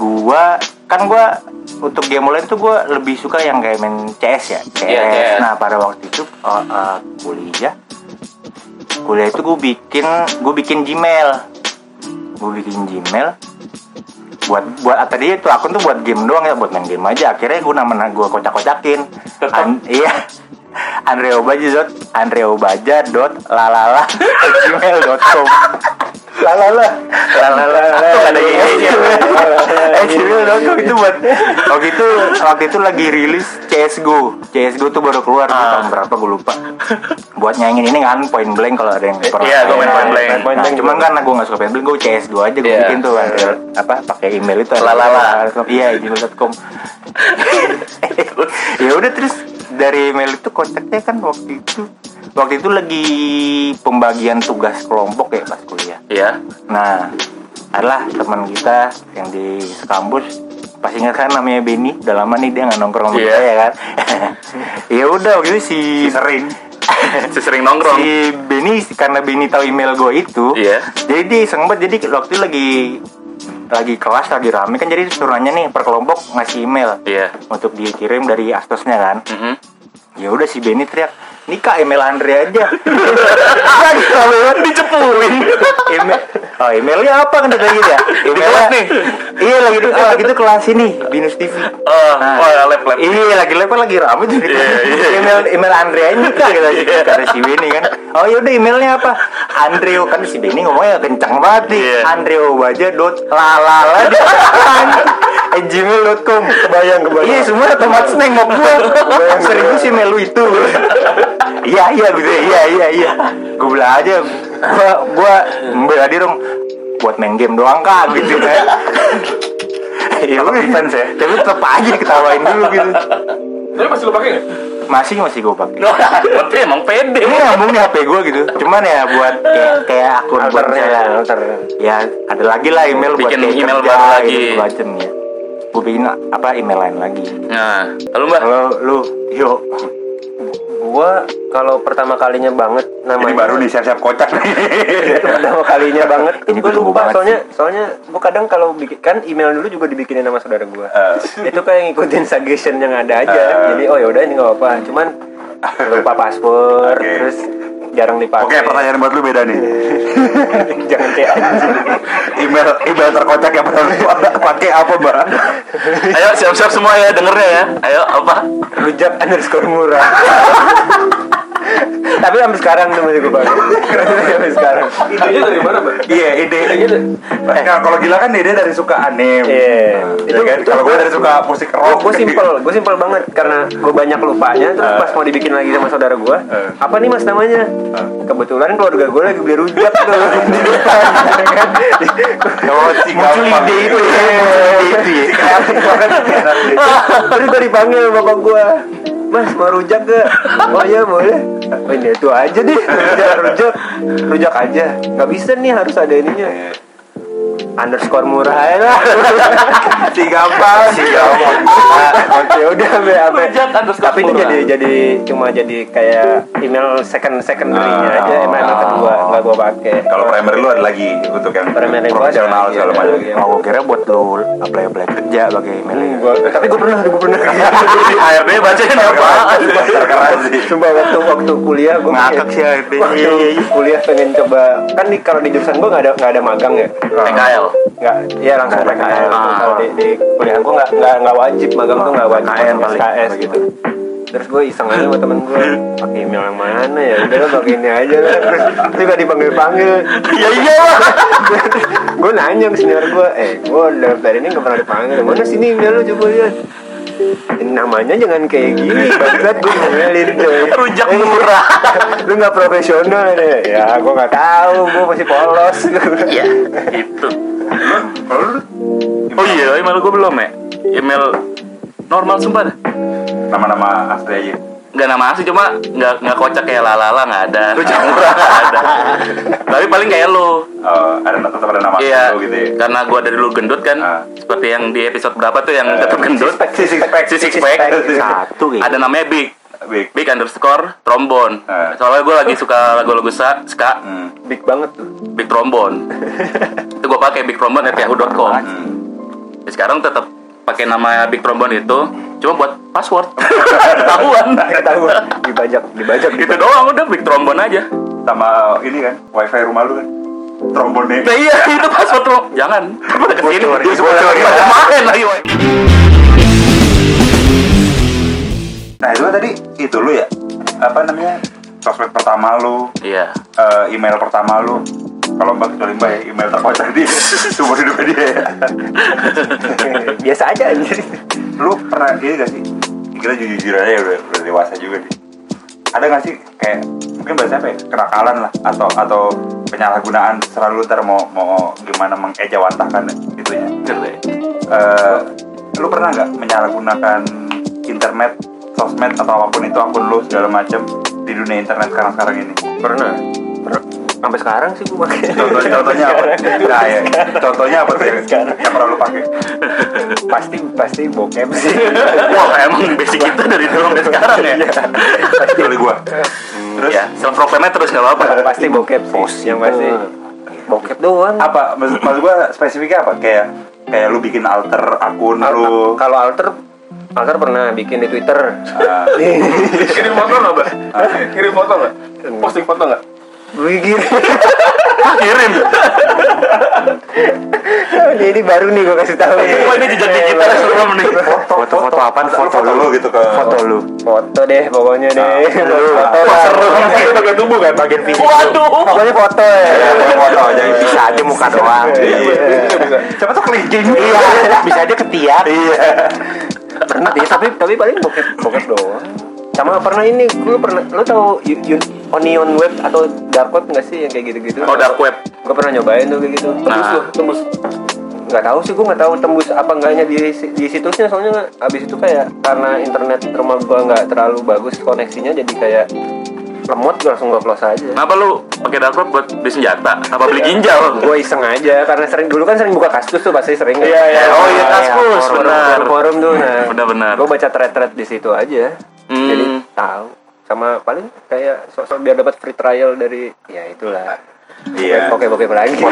Speaker 5: gua kan gua untuk game online tuh gua lebih suka yang kayak main CS ya CS,
Speaker 3: Iya, CS.
Speaker 5: nah pada waktu itu uh, uh, kuliah kuliah itu gue bikin gue bikin Gmail gue bikin Gmail buat buat ah, tadi itu akun tuh buat game doang ya buat main game aja akhirnya gue nama gue kocak kocakin An- iya Andre Obaja dot Andre Obaja dot lalala gmail dot com lalala lalala
Speaker 3: Tuh, ada ininya.
Speaker 5: eh gmail dot com
Speaker 3: gitu,
Speaker 5: itu buat waktu itu waktu itu lagi rilis CSGO CSGO tuh baru keluar tuh
Speaker 3: Ah.
Speaker 5: tahun berapa gue lupa buat nyaingin ini kan point blank kalau ada yang pernah
Speaker 3: Iya, gua main
Speaker 5: main.
Speaker 3: point blank.
Speaker 5: Nah,
Speaker 2: Point blank
Speaker 5: cuman karena gue gak suka point blank gue CS2 aja gue
Speaker 3: Iya.
Speaker 5: bikin tuh Andre, apa pakai email itu
Speaker 3: Lalala.
Speaker 5: iya gmail.com ya udah terus dari email itu kocaknya kan waktu itu waktu itu lagi pembagian tugas kelompok ya pas kuliah
Speaker 3: Iya.
Speaker 5: nah adalah teman kita yang di kampus pasti ingat kan namanya Benny udah lama nih dia nggak nongkrong sama
Speaker 3: Iya.
Speaker 5: kita ya kan ya udah waktu itu si
Speaker 6: Sering.
Speaker 3: Si sering nongkrong.
Speaker 5: si Benny karena Benny tahu email gue itu
Speaker 3: Iya.
Speaker 5: jadi dia iseng banget jadi waktu itu lagi lagi kelas lagi rame kan jadi suruhannya nih per kelompok ngasih email
Speaker 3: Iya.
Speaker 5: untuk dikirim dari astosnya kan
Speaker 3: Mhm.
Speaker 5: ya udah si Benny teriak nikah email Andre aja kan kalau dicepuin email oh emailnya apa kan kayak gitu ya emailnya
Speaker 3: nih.
Speaker 5: iya lagi di kelas itu kelas ini binus TV
Speaker 3: Oh, oh, lab, lab.
Speaker 5: Iya, lagi lab kan lagi rame tuh.
Speaker 3: iya.
Speaker 5: Email email Andre aja nikah kata si kata si Benny kan. Oh yaudah emailnya apa? Andreo kan si Benny ngomongnya kencang banget nih.
Speaker 3: Iya.
Speaker 5: Andreo baja dot lalala di depan. at gmail.com
Speaker 6: Kebayang, kebayang.
Speaker 5: Iya semua tempat snack mau gue Serius sih melu itu Iya iya gitu ya, Iya iya iya Gue bilang aja Gue Gue Mbak Adi dong Buat main game doang kak Gitu kan Iya lu defense ya Tapi tetep aja diketawain dulu gitu
Speaker 4: tapi masih lu pakai nggak
Speaker 5: Masih masih gue pakai
Speaker 3: Wah, Berarti emang pede.
Speaker 5: ini nyambung nih HP gue gitu Cuman ya buat kayak, kayak akun buat
Speaker 2: ya,
Speaker 5: saya Ya ada lagi lah email buat
Speaker 3: Bikin
Speaker 5: kayak
Speaker 3: email
Speaker 5: kerja,
Speaker 3: baru lagi.
Speaker 5: gitu, macem ya Gue bikin apa email lain lagi
Speaker 3: Nah, lalu Mbak,
Speaker 5: Kalau lu Yuk
Speaker 2: gua kalau pertama kalinya banget namanya
Speaker 6: Ini baru nih siap-siap kocak nih.
Speaker 1: Iya,
Speaker 2: pertama kalinya banget
Speaker 5: Ini
Speaker 2: gue
Speaker 5: gua tunggu
Speaker 2: lupa
Speaker 5: banget
Speaker 2: soalnya soalnya gue kadang kalau bikin kan email dulu juga dibikinin sama saudara gue itu kayak ngikutin suggestion yang ada aja jadi oh yaudah ini nggak apa cuman lupa paspor
Speaker 1: Oke.
Speaker 2: terus jarang dipakai
Speaker 6: Oke, pertanyaan buat lu beda nih.
Speaker 5: Iya.
Speaker 2: jangan kayak gitu.
Speaker 6: Email email terkocak yang pernah lu pakai apa, Mbak?
Speaker 3: ayo siap-siap semua ya dengernya ya. Ayo apa?
Speaker 2: rujak underscore murah Tapi sampai sekarang tuh masih gue pakai. sampai sekarang.
Speaker 4: Idenya dari mana, Bang?
Speaker 1: Iya, ide. Nah, kalau gila kan ide dari suka anime.
Speaker 2: Iya.
Speaker 1: Iya kan? Kalau gue dari suka musik
Speaker 2: Oh,
Speaker 1: rock.
Speaker 2: gue simpel, gue simpel banget karena gue banyak lupanya. Terus pas mau dibikin lagi sama saudara gue, apa nih mas namanya? Kebetulan keluarga gue lagi beli rujak tuh. Eh. Di depan, ya kan?
Speaker 1: Kalau si
Speaker 5: Muncul
Speaker 1: gampang.
Speaker 5: ide itu
Speaker 2: Iya,
Speaker 5: ya. Muncul ide itu ya.
Speaker 1: Kreatif banget.
Speaker 2: Terus gue dipanggil bapak gue Mas mau rujak gak? Oh iya boleh Oh ini itu aja deh Rujak rujak Rujak aja Gak bisa nih harus ada ininya Underscore murah aja lah
Speaker 1: Si gampang. Si
Speaker 4: Iya.
Speaker 1: gampang.
Speaker 2: Ya udah ambil apa
Speaker 3: Rujak underscore
Speaker 2: Tapi itu
Speaker 3: murah.
Speaker 2: jadi jadi cuma jadi kayak email second secondary-nya aja
Speaker 1: Ah.
Speaker 2: Email kedua Gak gue pake
Speaker 1: Kalau primary lu ada lagi untuk yang
Speaker 2: Primary gua ada
Speaker 1: profesional
Speaker 2: lagi,
Speaker 1: segala
Speaker 2: ada
Speaker 1: macam. gitu.
Speaker 2: lagi.
Speaker 5: Mau gue kira buat lo apply apply kerja pakai email.
Speaker 2: Hmm, gua- tapi gue pernah, gue pernah
Speaker 3: ARB bacain apaan?
Speaker 1: Keren sih.
Speaker 2: Coba waktu waktu kuliah gue
Speaker 5: Ngakak sih ARB. Iya, iya,
Speaker 2: Waktu kuliah pengen coba kan di kalau di jurusan gue nggak ada nggak ada magang ya
Speaker 3: PKL.
Speaker 2: nggak ya langsung
Speaker 5: Nggak ada PKL.
Speaker 2: PKL Terus kalau di, di kuliah gue nggak nggak nggak wajib magang tuh nggak wajib
Speaker 5: PKL paling.
Speaker 2: SKS gitu terus gue iseng aja sama temen gue pakai email yang mana ya udah lah pakai ini aja lah terus terus gak dipanggil panggil
Speaker 3: Ya iya lah.
Speaker 2: gue nanya ke senior gue eh gue daftar ini nggak pernah dipanggil mana sini email lu coba lihat Ini namanya jangan kayak gini bangsat gue ngomelin coy
Speaker 3: Rujak murah.
Speaker 2: lu nggak profesional deh ya gue nggak tahu gue masih polos
Speaker 3: Iya, itu.
Speaker 1: Kalau lu
Speaker 3: Oh iya, email gue belum ya. Email normal sumpah dah.
Speaker 1: nama-nama asli aja.
Speaker 3: Gak nama asli cuma nggak nggak kocak kayak lalala nggak ada. Rujak murah nggak ada. Tapi paling kayak lu.
Speaker 1: Eh, ada tetap ada nama asli
Speaker 3: Iya,
Speaker 1: lu gitu ya.
Speaker 3: karena gua dari dulu gendut kan,
Speaker 1: Ah. Eh,
Speaker 3: seperti yang di episode berapa tuh yang tetap gendut,
Speaker 1: Si six pack.
Speaker 3: si six pack,
Speaker 5: Satu kayak.
Speaker 3: ada namanya Big,
Speaker 1: Big.
Speaker 3: Big underscore trombon.
Speaker 1: Ah.
Speaker 3: Soalnya gua lagi suka lagu-lagu sa- ska,
Speaker 1: Hmm.
Speaker 2: big banget tuh
Speaker 3: Big trombon. itu gua pakai Big trombon at yahoo.com.
Speaker 1: Hmm.
Speaker 3: Jadi sekarang tetap pakai nama Big trombon itu,
Speaker 1: Hmm.
Speaker 3: cuma buat password ketahuan.
Speaker 2: nggak tahu dibajak dibajak
Speaker 3: itu doang udah Big trombon aja.
Speaker 1: sama ini kan wifi rumah lu kan trombonnya
Speaker 3: Nah, iya itu password lo. Jangan. Udah kesini.
Speaker 1: bocorin.
Speaker 3: Kemarin lagi. woy.
Speaker 1: nah itu kan tadi itu lu ya apa namanya sosmed pertama lu
Speaker 3: Iya.
Speaker 1: eh, email pertama lu kalau mbak kecuali mbak ya email terkocak di sumber hidup dia ya.
Speaker 2: biasa aja anjir
Speaker 1: lu pernah ini gak sih kita jujur aja udah, udah dewasa juga nih ada gak sih kayak mungkin bahasa apa ya kenakalan lah atau atau penyalahgunaan selalu ntar mau mau gimana mengejawantahkan itunya
Speaker 3: Jelek.
Speaker 1: ya. eh lu pernah nggak menyalahgunakan internet, sosmed atau apapun itu akun lu segala macam di dunia internet sekarang sekarang ini?
Speaker 2: pernah Per- sampai sekarang sih gue pakai
Speaker 1: Contoh, contohnya apa? Nah, ya. Contohnya apa tuh yang, yang pernah lu pakai?
Speaker 2: pasti pasti bokep sih Iya.
Speaker 3: Wah emang basic kita dari dulu sampai sekarang ya.
Speaker 1: Kecuali gua. Terus
Speaker 3: Ya, self proclaimnya terus nggak apa-apa.
Speaker 2: pasti bokep sih yang pasti bokep doang
Speaker 1: apa? Maksud, maksud gua spesifiknya apa? Kayak kayak lu bikin alter akun lu.
Speaker 2: kalau alter alter pernah bikin di twitter
Speaker 1: ah,
Speaker 4: Kirim foto nggak, Bang? Kirim foto nggak? Posting foto nggak?
Speaker 2: begini
Speaker 3: Kirim.
Speaker 2: ini baru nih gue kasih tahu
Speaker 3: Wah ini jejak digital ya, serem nih.
Speaker 5: Foto-foto apaan?
Speaker 1: foto,
Speaker 5: Foto
Speaker 1: lu
Speaker 5: lu.
Speaker 1: gitu ke
Speaker 5: Foto lu.
Speaker 2: foto deh pokoknya deh
Speaker 3: Wah
Speaker 2: foto
Speaker 3: serem nih.
Speaker 4: Itu bagian tubuh kan? Bagian fisik.
Speaker 3: Waduh.
Speaker 2: pokoknya foto ya
Speaker 1: Ya, pokoknya foto aja
Speaker 5: Yang bisa aja muka doang.
Speaker 1: Iya.
Speaker 2: Iya.
Speaker 4: bisa.
Speaker 1: Siapa tuh Iya. kelingking?
Speaker 5: Iya, bisa aja ketiak.
Speaker 2: pernah sih tapi tapi paling bokep bokep doang sama pernah ini gue pernah lo tau Yun- Yun- onion web atau dark web nggak sih yang kayak gitu-gitu
Speaker 3: Oh dark web.
Speaker 2: gue pernah nyobain tuh kayak gitu
Speaker 3: Nah.
Speaker 4: Tembus tuh, tembus.
Speaker 2: nggak tahu sih gue nggak tahu tembus apa enggaknya di di situsnya soalnya abis itu kayak karena internet rumah gue nggak terlalu bagus koneksinya jadi kayak lemot gue langsung gue close aja
Speaker 3: Kenapa lu pakai dark web buat beli senjata? Apa beli ginjal?
Speaker 2: gue iseng aja karena sering dulu kan sering buka kaskus tuh pasti sering kan?
Speaker 4: Iya, iya.
Speaker 3: Oh iya kaskus
Speaker 2: forum,
Speaker 3: benar.
Speaker 2: forum, forum tuh nah
Speaker 3: Benar-benar.
Speaker 2: gue baca thread-thread di situ aja
Speaker 3: Hmm.
Speaker 2: jadi tahu sama paling kayak sosok biar dapat free trial dari ya itulah
Speaker 1: Iya.
Speaker 2: oke oke lagi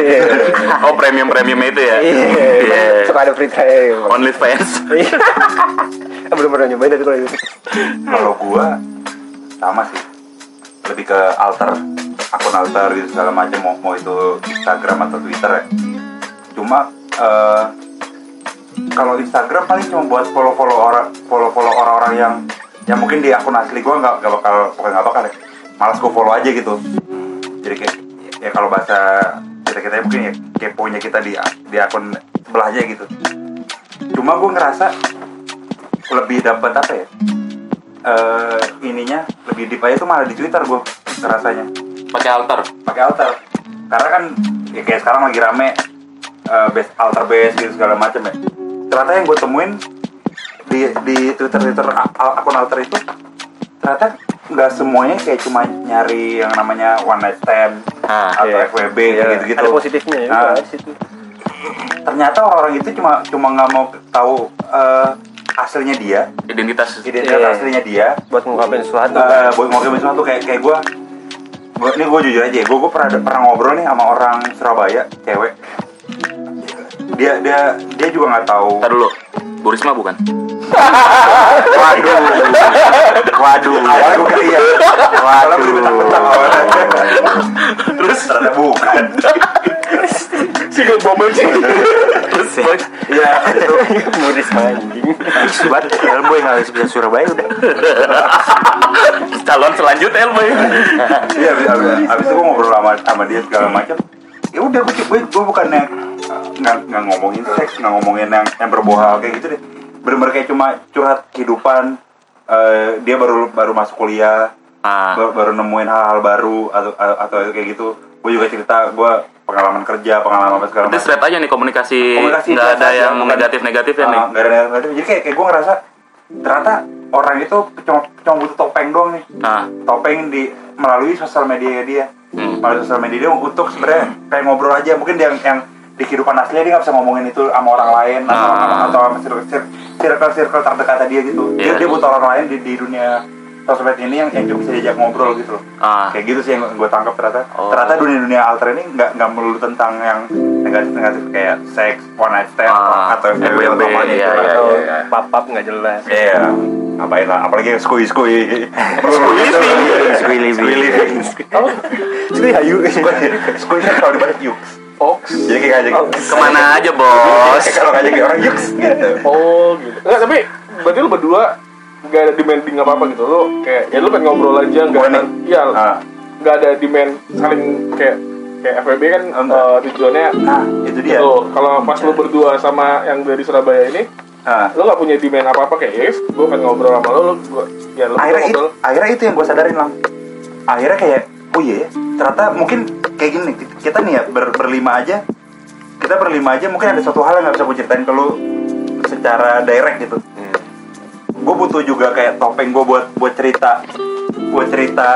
Speaker 3: Oh premium premium itu ya.
Speaker 2: iya
Speaker 3: Iya.
Speaker 2: suka ada free trial
Speaker 3: Only fans.
Speaker 2: Iya. belum pernah nyobain tapi kalau gitu. itu
Speaker 1: Hmm. kalau gua sama sih lebih ke alter akun alter gitu segala macam mau, mau itu Instagram atau Twitter ya cuma eh, kalau Instagram paling cuma buat follow follow orang follow follow orang-orang yang yang mungkin di akun asli gue nggak nggak bakal bukan nggak bakal ya malas gue follow aja gitu jadi kayak ya kalau bahasa kita kita mungkin ya keponya kita di di akun sebelahnya gitu cuma gue ngerasa lebih dapat apa ya Eh ininya lebih deep aja tuh malah di twitter gue rasanya
Speaker 3: pakai alter
Speaker 1: pakai alter karena kan ya kayak sekarang lagi rame eh, base alter base gitu segala macam ya ternyata yang gue temuin di di twitter twitter a- a- akun alter itu ternyata nggak semuanya kayak cuma nyari yang namanya one night stand
Speaker 3: Ah,
Speaker 1: atau
Speaker 2: iya.
Speaker 1: FWB
Speaker 2: Iya,
Speaker 1: kayak gitu-gitu
Speaker 2: Ada positifnya ya.
Speaker 1: Ah.
Speaker 2: guys, itu.
Speaker 1: ternyata orang-orang itu cuma cuma nggak mau tahu eh, aslinya dia
Speaker 3: identitas
Speaker 1: identitas
Speaker 2: Iya.
Speaker 1: aslinya dia
Speaker 2: Buat ngungkapin sesuatu.
Speaker 1: Eh, buat ngomongin sesuatu kayak kayak gue gua, ini gue jujur aja gue gue pernah pernah ngobrol nih sama orang Surabaya cewek dia dia dia juga nggak tahu
Speaker 3: Ntar dulu Bu Risma bukan?
Speaker 1: waduh waduh awalnya gue kira iya awalnya gue bentak-bentak awalnya terus ternyata bukan
Speaker 4: Single bomber sih.
Speaker 5: terus
Speaker 1: iya itu
Speaker 2: Muris anjing.
Speaker 5: Sobat, kalau boy nggak bisa Surabaya udah.
Speaker 3: Calon selanjutnya Elboy
Speaker 1: iya abis, abis, abis itu gue ngobrol sama, sama dia segala macam ya udah gue gue gue bukan yang uh, nggak nggak ngomongin seks nggak ngomongin yang yang berbohal kayak gitu deh bener-bener kayak cuma curhat kehidupan eh, dia baru baru masuk kuliah
Speaker 3: Ah.
Speaker 1: baru, baru nemuin hal-hal baru atau atau kayak gitu gue juga cerita gue pengalaman kerja pengalaman apa segala
Speaker 3: Berarti
Speaker 1: macam
Speaker 3: straight aja nih komunikasi
Speaker 1: Komunikasi
Speaker 3: Nggak
Speaker 1: biasa
Speaker 3: ada
Speaker 1: aja,
Speaker 3: yang
Speaker 1: bukan-
Speaker 3: negatif-negatif ya nih
Speaker 1: Ah, nggak ada negatif negatif. jadi kayak kayak gue ngerasa ternyata orang itu cuma cuma butuh topeng doang nih
Speaker 3: Ah,
Speaker 1: topeng di melalui sosial media dia
Speaker 3: Hmm.
Speaker 1: melalui sosial media dia untuk sebenarnya kayak ngobrol aja mungkin yang yang di kehidupan aslinya dia nggak bisa ngomongin itu sama orang lain atau
Speaker 3: Ah.
Speaker 1: atau sama circle circle- circle circle terdekat dia gitu dia
Speaker 3: Iya.
Speaker 1: dia butuh orang lain di, di dunia sosmed ini yang yang bisa diajak ngobrol gitu loh
Speaker 3: Ah.
Speaker 1: kayak gitu sih yang gue tangkap ternyata
Speaker 3: Oh.
Speaker 1: ternyata dunia dunia alter ini nggak nggak melulu tentang yang negatif negatif kayak seks one night stand
Speaker 3: Ah.
Speaker 1: atau FWB
Speaker 3: FWB,
Speaker 1: atau apa
Speaker 3: iya,
Speaker 1: gitu
Speaker 3: iya,
Speaker 1: atau
Speaker 3: iya.
Speaker 2: Papap nggak jelas.
Speaker 1: Iya, ngapain lah, apalagi yang skui skui
Speaker 5: Squee living.
Speaker 1: Squee living Skui hayu Skui kan kalau di Bali, yuk
Speaker 4: Ox.
Speaker 1: Jadi kayak ngajak
Speaker 3: Oh. Kemana aja bos?
Speaker 1: Kayak kalau ngajak orang yuk gitu
Speaker 4: Oh gitu. Enggak, tapi berarti lu berdua nggak ada demanding apa apa gitu lu kayak ya lu pengen ngobrol aja nggak
Speaker 1: Gua
Speaker 4: ada
Speaker 1: nih.
Speaker 4: ya
Speaker 1: Ah.
Speaker 4: nggak ada demand saling kayak kayak FWB kan
Speaker 1: Enggak.
Speaker 4: eh, tujuannya
Speaker 1: Nah, itu dia
Speaker 4: tuh kalau pas lu berdua sama yang dari Surabaya ini
Speaker 1: Ah.
Speaker 4: lu nggak punya demand apa apa kayak yes, gue pengen ngobrol sama lu, lu gua, ya lu
Speaker 1: akhirnya itu
Speaker 4: ngobrol
Speaker 1: akhirnya itu yang gue sadarin lang akhirnya kayak oh iya ya, ternyata mungkin kayak gini kita nih ya ber- berlima aja kita berlima aja mungkin ada suatu hal yang nggak bisa gue ceritain ke lu secara direct gitu gue butuh juga kayak topeng gue buat buat cerita buat cerita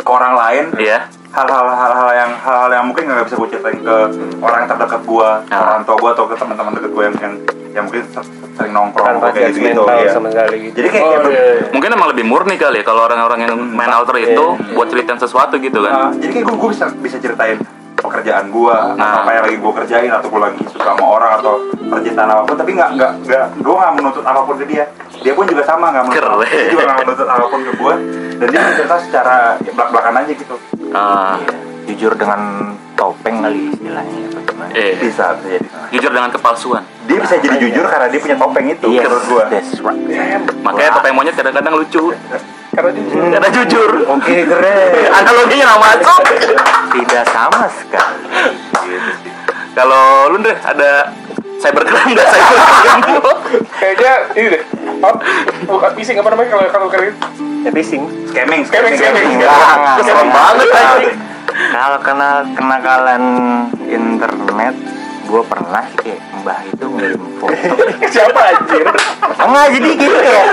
Speaker 1: ke orang lain
Speaker 3: Iya.
Speaker 1: hal-hal hal-hal yang hal-hal yang mungkin nggak bisa gue ceritain ke orang terdekat gue ke
Speaker 3: Ah.
Speaker 1: orang tua gue atau ke teman-teman deket gue yang, yang yang mungkin ser- sering nongkrong
Speaker 2: Tanpa
Speaker 1: kayak
Speaker 2: judgmental
Speaker 1: gitu gitu
Speaker 2: sama sekali gitu.
Speaker 1: jadi kayak,
Speaker 4: Oh,
Speaker 1: kayak ber-
Speaker 4: iya, iya.
Speaker 3: Mungkin emang lebih murni kali ya Kalau orang-orang yang main alter
Speaker 5: Iya.
Speaker 3: itu Buat ceritain sesuatu gitu kan
Speaker 1: Nah, jadi kayak gue, bisa bisa ceritain pekerjaan gue,
Speaker 2: Ah.
Speaker 3: Nah.
Speaker 1: apa yang lagi gue kerjain atau gue lagi suka sama orang atau percintaan apapun, tapi nggak nggak nggak gue nggak menuntut apapun ke dia. Dia pun juga sama nggak menuntut,
Speaker 3: Keren.
Speaker 1: dia juga nggak menuntut apapun ke gue. Dan dia cerita secara belak belakan aja gitu.
Speaker 3: Ah,
Speaker 5: Jujur dengan topeng kali istilahnya ya, atau gimana.
Speaker 3: eh,
Speaker 1: Bisa bisa jadi.
Speaker 3: Jujur dengan kepalsuan
Speaker 1: Dia bisa jadi jujur karena dia punya topeng itu.
Speaker 2: Iya.
Speaker 5: Yes,
Speaker 1: Menurut gue.
Speaker 5: Iya, that's right.
Speaker 3: Makanya topeng monyet kadang-kadang lucu
Speaker 4: karena jujur
Speaker 3: Karena jujur
Speaker 5: Oke, keren.
Speaker 3: Analoginya nggak masuk
Speaker 5: Tidak sama sekali.
Speaker 3: Kalau lu Andre, ada cybercrime nggak cybercrime?
Speaker 4: kayaknya ini deh up bukan pising apa namanya kalau kalau kalian
Speaker 2: Ya pising.
Speaker 1: Scamming,
Speaker 4: Scamming, scamming.
Speaker 5: Enggak,
Speaker 3: Serem
Speaker 5: enggak.
Speaker 3: banget anjing.
Speaker 5: Kalau kenal kenakalan internet, gue pernah sih kayak mbah itu ngirim foto.
Speaker 4: siapa anjir
Speaker 5: Enggak jadi gitu ya.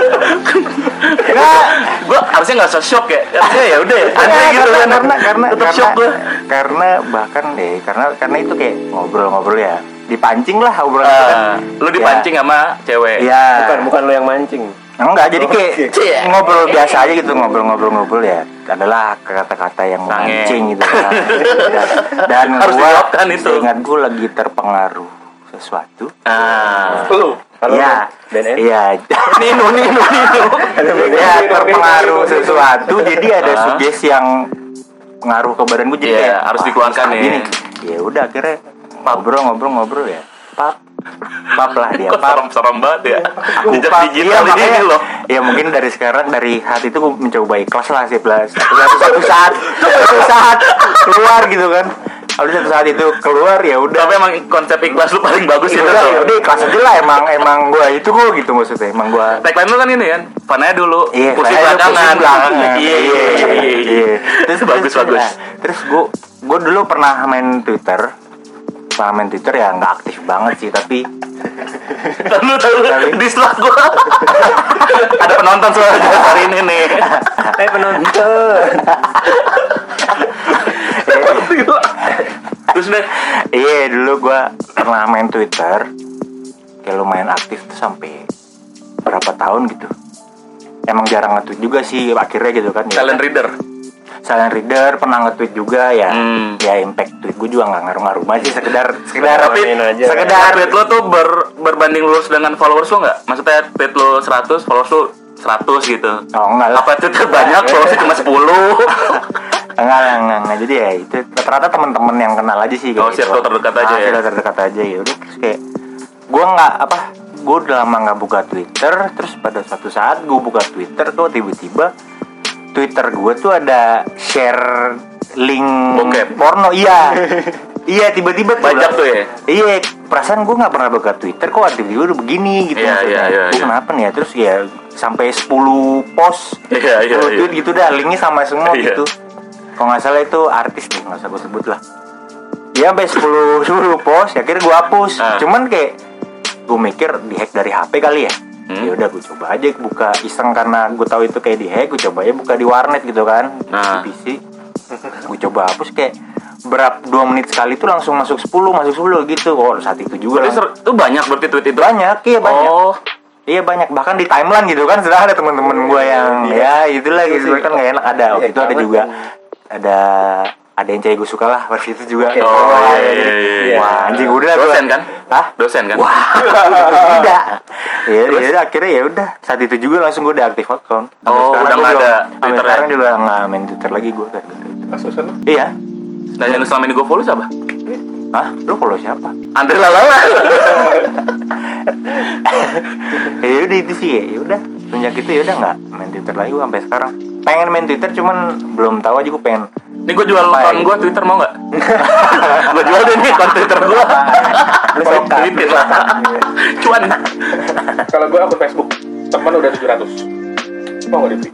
Speaker 5: Enggak,
Speaker 3: Gue harusnya nggak usah shock ya. Harusnya ya udah. Aneh
Speaker 5: Iya, Karena-
Speaker 3: gitu kan.
Speaker 5: karena karena
Speaker 3: tetap
Speaker 5: karena, Iya.
Speaker 3: shock gue.
Speaker 5: karena bahkan deh karena karena itu kayak ngobrol-ngobrol ya dipancing lah obrolan itu
Speaker 3: Eh,
Speaker 5: kan.
Speaker 3: Ah, lu dipancing sama cewek.
Speaker 5: ya
Speaker 2: Bukan bukan lo yang mancing.
Speaker 5: enggak jadi kayak
Speaker 3: Oke.
Speaker 5: ngobrol biasa aja gitu ngobrol-ngobrol-ngobrol ya adalah kata-kata yang
Speaker 3: Sange.
Speaker 5: memancing gitu kan. dan, dan
Speaker 3: Harus
Speaker 5: gua
Speaker 3: dilakukan itu.
Speaker 5: ingat gua lagi terpengaruh sesuatu
Speaker 3: Ah.
Speaker 4: lu
Speaker 2: Halo,
Speaker 5: Iya,
Speaker 2: Ben. Ben, eh?
Speaker 5: iya,
Speaker 3: Nino, Nino, Nino.
Speaker 5: ya terpengaruh sesuatu jadi ada
Speaker 3: Ah.
Speaker 5: sugesti yang pengaruh ke badan gue jadi
Speaker 3: Iya,
Speaker 5: kayak,
Speaker 3: harus
Speaker 5: "Wah,
Speaker 3: dikeluarkan
Speaker 5: ini
Speaker 3: ya."
Speaker 5: gini. ya udah akhirnya ngobrol ngobrol ngobrol ya pap pap lah dia
Speaker 3: Kok
Speaker 5: pap.
Speaker 3: serem serem banget ya jejak
Speaker 5: Pap.
Speaker 3: digital
Speaker 5: Iya,
Speaker 3: ini
Speaker 5: makanya-
Speaker 3: loh
Speaker 5: Ya mungkin dari sekarang dari hati itu gua mencoba ikhlas lah sih plus. Satu, satu saat, satu saat keluar gitu kan. Kalau satu saat itu keluar ya udah.
Speaker 3: tapi emang konsep ikhlas lu paling bagus
Speaker 5: Ya
Speaker 3: itu
Speaker 5: udah,
Speaker 3: tuh
Speaker 5: ya udah ikhlas aja lah emang emang gua itu gua gitu maksudnya emang gua
Speaker 3: tagline lu kan ini kan fananya dulu
Speaker 5: Iya,
Speaker 3: kursi
Speaker 5: saya ada
Speaker 3: belakangan
Speaker 5: kursi belakangan.
Speaker 3: iya iya iya iya terus bagus bagus
Speaker 5: nah, terus gue gue dulu pernah main Twitter pernah main Twitter ya nggak aktif banget sih tapi
Speaker 3: Tahu tahu dislike gua. Ada penonton soalnya hari ini nih.
Speaker 2: Eh penonton.
Speaker 3: Terus deh,
Speaker 5: iya dulu gue pernah main Twitter kayak lumayan aktif tuh sampai berapa tahun gitu emang jarang nge-tweet juga sih akhirnya gitu kan ya.
Speaker 3: talent reader.
Speaker 5: silent reader pernah nge-tweet juga ya
Speaker 3: Hmm.
Speaker 5: ya impact tweet gue juga nggak ngaruh-ngaruh banget sih sekedar sekedar
Speaker 3: Tapi
Speaker 2: Mainin aja.
Speaker 3: sekedar tweet lo tuh ber- berbanding lurus dengan followers lo nggak? Maksudnya tweet lo 100, followers lo 100 gitu.
Speaker 5: oh enggak lah
Speaker 3: Apa tweet terbanyak, followers lo cuma 10?
Speaker 5: enggak lah enggak, enggak. jadi ya itu rata-rata teman-teman yang kenal aja sih gitu.
Speaker 3: Oh,
Speaker 5: Ah,
Speaker 3: circle terdekat aja ya?
Speaker 5: circle terdekat aja ya udah terus kayak gue nggak apa gue udah lama nggak buka Twitter terus pada suatu saat gue buka Twitter tuh tiba-tiba Twitter gue tuh ada share link
Speaker 3: Bokep.
Speaker 5: porno iya iya tiba-tiba tuh
Speaker 3: Banyak
Speaker 5: lah.
Speaker 3: tuh ya?
Speaker 5: iya perasaan gue nggak pernah buka Twitter kok tiba-tiba udah begini gitu
Speaker 3: Iya,
Speaker 5: maksudnya.
Speaker 3: iya, iya,
Speaker 5: Gua
Speaker 3: iya.
Speaker 5: kenapa nih ya terus ya sampai 10 post
Speaker 3: Iya, iya,
Speaker 5: 10
Speaker 3: iya.
Speaker 5: tweet gitu dah linknya sama semua
Speaker 3: Iya.
Speaker 5: gitu kalau nggak salah itu artis deh nggak usah gue sebut lah dia sampai 10 10 post ya akhirnya gue hapus
Speaker 3: Ah.
Speaker 5: cuman kayak gue mikir dihack dari HP kali ya
Speaker 3: Hmm.
Speaker 5: ya udah gue coba aja buka iseng karena gue tahu itu kayak dihack gue coba aja buka di warnet gitu kan
Speaker 3: Ah.
Speaker 5: di PC gue coba hapus kayak berapa dua menit sekali tuh langsung masuk 10 masuk 10 gitu kok saat itu juga
Speaker 3: Berarti
Speaker 5: lang-
Speaker 3: ser- itu banyak berarti tweet itu.
Speaker 5: banyak iya banyak
Speaker 3: Oh,
Speaker 5: Iya banyak bahkan di timeline gitu kan sudah ada
Speaker 3: Iya,
Speaker 5: teman-teman gue yang ya itulah gitu kan nggak enak ada waktu itu ada juga ada ada yang cewek gue suka lah waktu itu juga
Speaker 3: Oh, iya, iya, iya.
Speaker 5: wah anjing udah gua-
Speaker 3: dosen kan?
Speaker 5: Hah?
Speaker 3: Dosen kan?
Speaker 5: wah tidak ya ya udah, akhirnya ya udah saat itu juga langsung gue deaktif account Sampai
Speaker 3: Oh,
Speaker 5: sekarang
Speaker 3: udah
Speaker 5: gua
Speaker 3: nggak
Speaker 5: juga-
Speaker 3: ada
Speaker 5: sampai
Speaker 3: Twitter ya?
Speaker 5: sekarang juga nggak main twitter lagi gue kan
Speaker 4: Kasusnya
Speaker 5: iya
Speaker 3: Dan yang selama ini gue follow siapa?
Speaker 5: Hah? Lu follow siapa?
Speaker 3: Andre Lalawan.
Speaker 5: ya udah itu sih ya Ya udah sejak itu ya udah nggak main twitter lagi gue sampai sekarang pengen main twitter cuman belum tahu aja gue pengen
Speaker 3: Ini gue jual
Speaker 5: Apa ya?
Speaker 3: akun gue Twitter mau nggak? gue jual deh nih akun Twitter gue.
Speaker 2: Lu sokap.
Speaker 3: Tweetin lah. gitu. Cuan.
Speaker 4: Kalau gue akun Facebook, teman udah 700. Mau nggak Devi?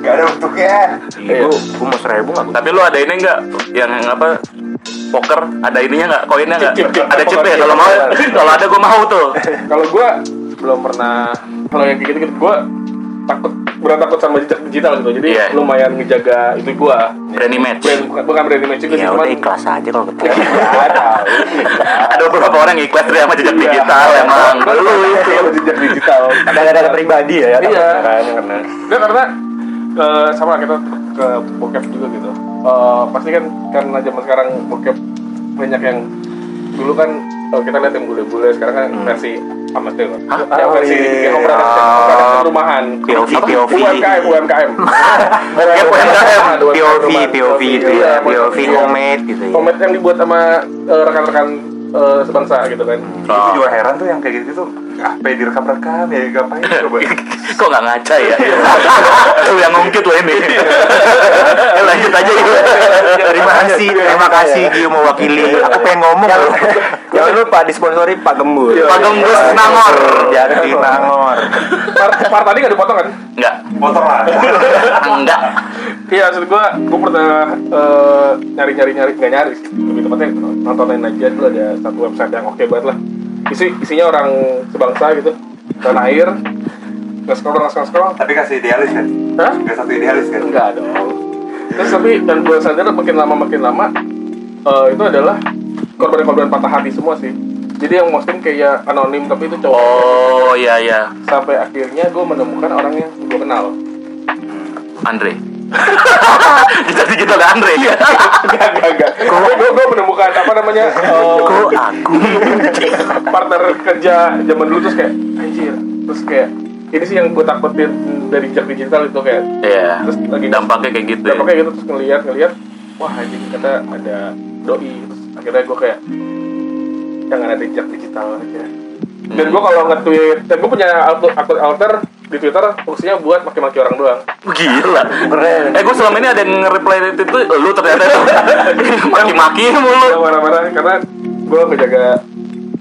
Speaker 6: Gak ada bentuknya.
Speaker 5: Iya. Gue mau seribu nggak gue?
Speaker 3: Tapi lu ada ini nggak? Yang yang apa? Poker ada ininya nggak? Koinnya nggak?
Speaker 4: Chip, chip, chip.
Speaker 3: Ada chipnya kalau mau. Kalau ada gue mau tuh.
Speaker 4: Kalau gue belum pernah, kalau yang kayak gitu-gitu gue takut berat takut sama jejak digital gitu. Jadi
Speaker 3: Iya.
Speaker 4: lumayan ngejaga itu gue.
Speaker 3: Berani match.
Speaker 4: Brand, bukan brand image juga
Speaker 5: Ya
Speaker 4: sih,
Speaker 5: udah
Speaker 4: cuman
Speaker 5: ikhlas aja kalau ketemu.
Speaker 3: Ada beberapa orang yang ikhlas dia sama
Speaker 4: Iya.
Speaker 3: jejak digital emang. Lu itu.
Speaker 4: Sama jejak digital.
Speaker 2: Ada ada pribadi ya.
Speaker 4: Iya.
Speaker 2: Kan karena
Speaker 4: Nggak, karena eh, sama kita ke bokep juga gitu. Eh, pasti kan karena zaman sekarang bokep banyak yang dulu kan eh, kita lihat yang bule-bule sekarang kan versi amatir loh. Yang versi kan, yang production, production rumahan.
Speaker 5: POV,
Speaker 4: Apa?
Speaker 5: POV.
Speaker 4: UMKM,
Speaker 5: Eh,
Speaker 4: UMKM.
Speaker 3: Ya, UMKM.
Speaker 5: POV, POV itu
Speaker 4: Iya,
Speaker 5: ya,
Speaker 4: maksudnya
Speaker 5: POV homemade gitu ya.
Speaker 4: Komet yang dibuat sama eh, rekan-rekan eh, sebangsa gitu kan.
Speaker 6: Gue juga heran tuh yang kayak gitu tuh. Apa ya direkam-rekam ya ngapain coba?
Speaker 3: Kok nggak ngaca ya? Lu yang ngungkit lo ini.
Speaker 4: Iya.
Speaker 3: Eh, Lanjut aja yuk.
Speaker 5: Terima kasih, terima kasih Gio mewakili. Aku pengen ngomong loh.
Speaker 2: Jangan lupa disponsori Pak Gembul.
Speaker 3: Pak
Speaker 4: Iya,
Speaker 3: Gembus Nangor.
Speaker 5: Jadi nangor.
Speaker 4: Part, part tadi nggak dipotong kan?
Speaker 3: Enggak.
Speaker 6: Motor lah.
Speaker 3: Enggak.
Speaker 4: Iya, maksud gue, gue pernah eh, nyari-nyari nyari nggak nyari sih. Lebih tepatnya nontonin aja dulu ada satu website yang oke banget lah. Isi isinya orang sebangsa gitu, tanah air. Nggak scroll, nggak scroll, scroll.
Speaker 6: Tapi kasih idealis kan?
Speaker 4: Hah?
Speaker 6: Gak satu idealis kan?
Speaker 4: Enggak dong. Terus tapi dan gue sadar makin lama makin lama eh, itu adalah korban-korban patah hati semua sih. Jadi yang posting kayak anonim tapi itu cowok.
Speaker 3: Oh iya iya.
Speaker 4: Sampai akhirnya gue menemukan orang yang gue kenal.
Speaker 3: Andre. Kita digital ada Andre.
Speaker 4: Iya. Enggak, enggak, enggak. Gue gue menemukan apa namanya? eh, partner kerja zaman dulu terus kayak anjir terus kayak ini sih yang gue takutin dari jejak digital itu kayak
Speaker 3: Iya.
Speaker 4: terus lagi
Speaker 3: Dampaknya kayak gitu. ya.
Speaker 4: dampaknya gitu terus ngeliat ngeliat wah anjir kata ada doi terus akhirnya gue kayak jangan ada jejak digital aja dan gue kalau nge-tweet dan gue punya akun, akun alter di Twitter fungsinya buat maki-maki orang doang
Speaker 3: Gila. Eh gue selama ini ada yang nge-reply itu lu ternyata itu. maki-maki
Speaker 4: Gua
Speaker 3: mulu.
Speaker 4: marah-marah karena gue ngejaga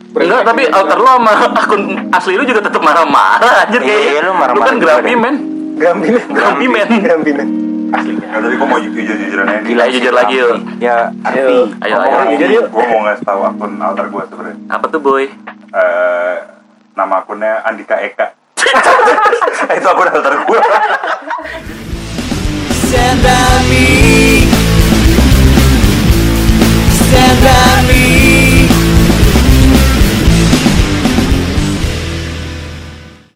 Speaker 3: Enggak, tapi alter lu sama akun asli lu juga tetap marah-marah anjir
Speaker 5: Iya,
Speaker 3: kayaknya.
Speaker 5: lu marah-marah
Speaker 3: kan
Speaker 5: juga
Speaker 3: grumpy
Speaker 5: deh.
Speaker 3: men.
Speaker 2: Grampinan.
Speaker 3: Grumpy men.
Speaker 2: Grampinan.
Speaker 6: Ya,
Speaker 4: aslinya
Speaker 1: Nah, tadi gue mau jujur-jujuran aja nih.
Speaker 3: Gila jujur lagi yuk.
Speaker 5: ya
Speaker 2: Ayo,
Speaker 3: Ayo, ayo.
Speaker 2: ngomongin jujur yuk.
Speaker 1: Gue mau ngasih tahu akun alter gue sebenarnya.
Speaker 3: Apa tuh boy?
Speaker 1: Eh, nama akunnya Andika Eka. itu akun alter gue.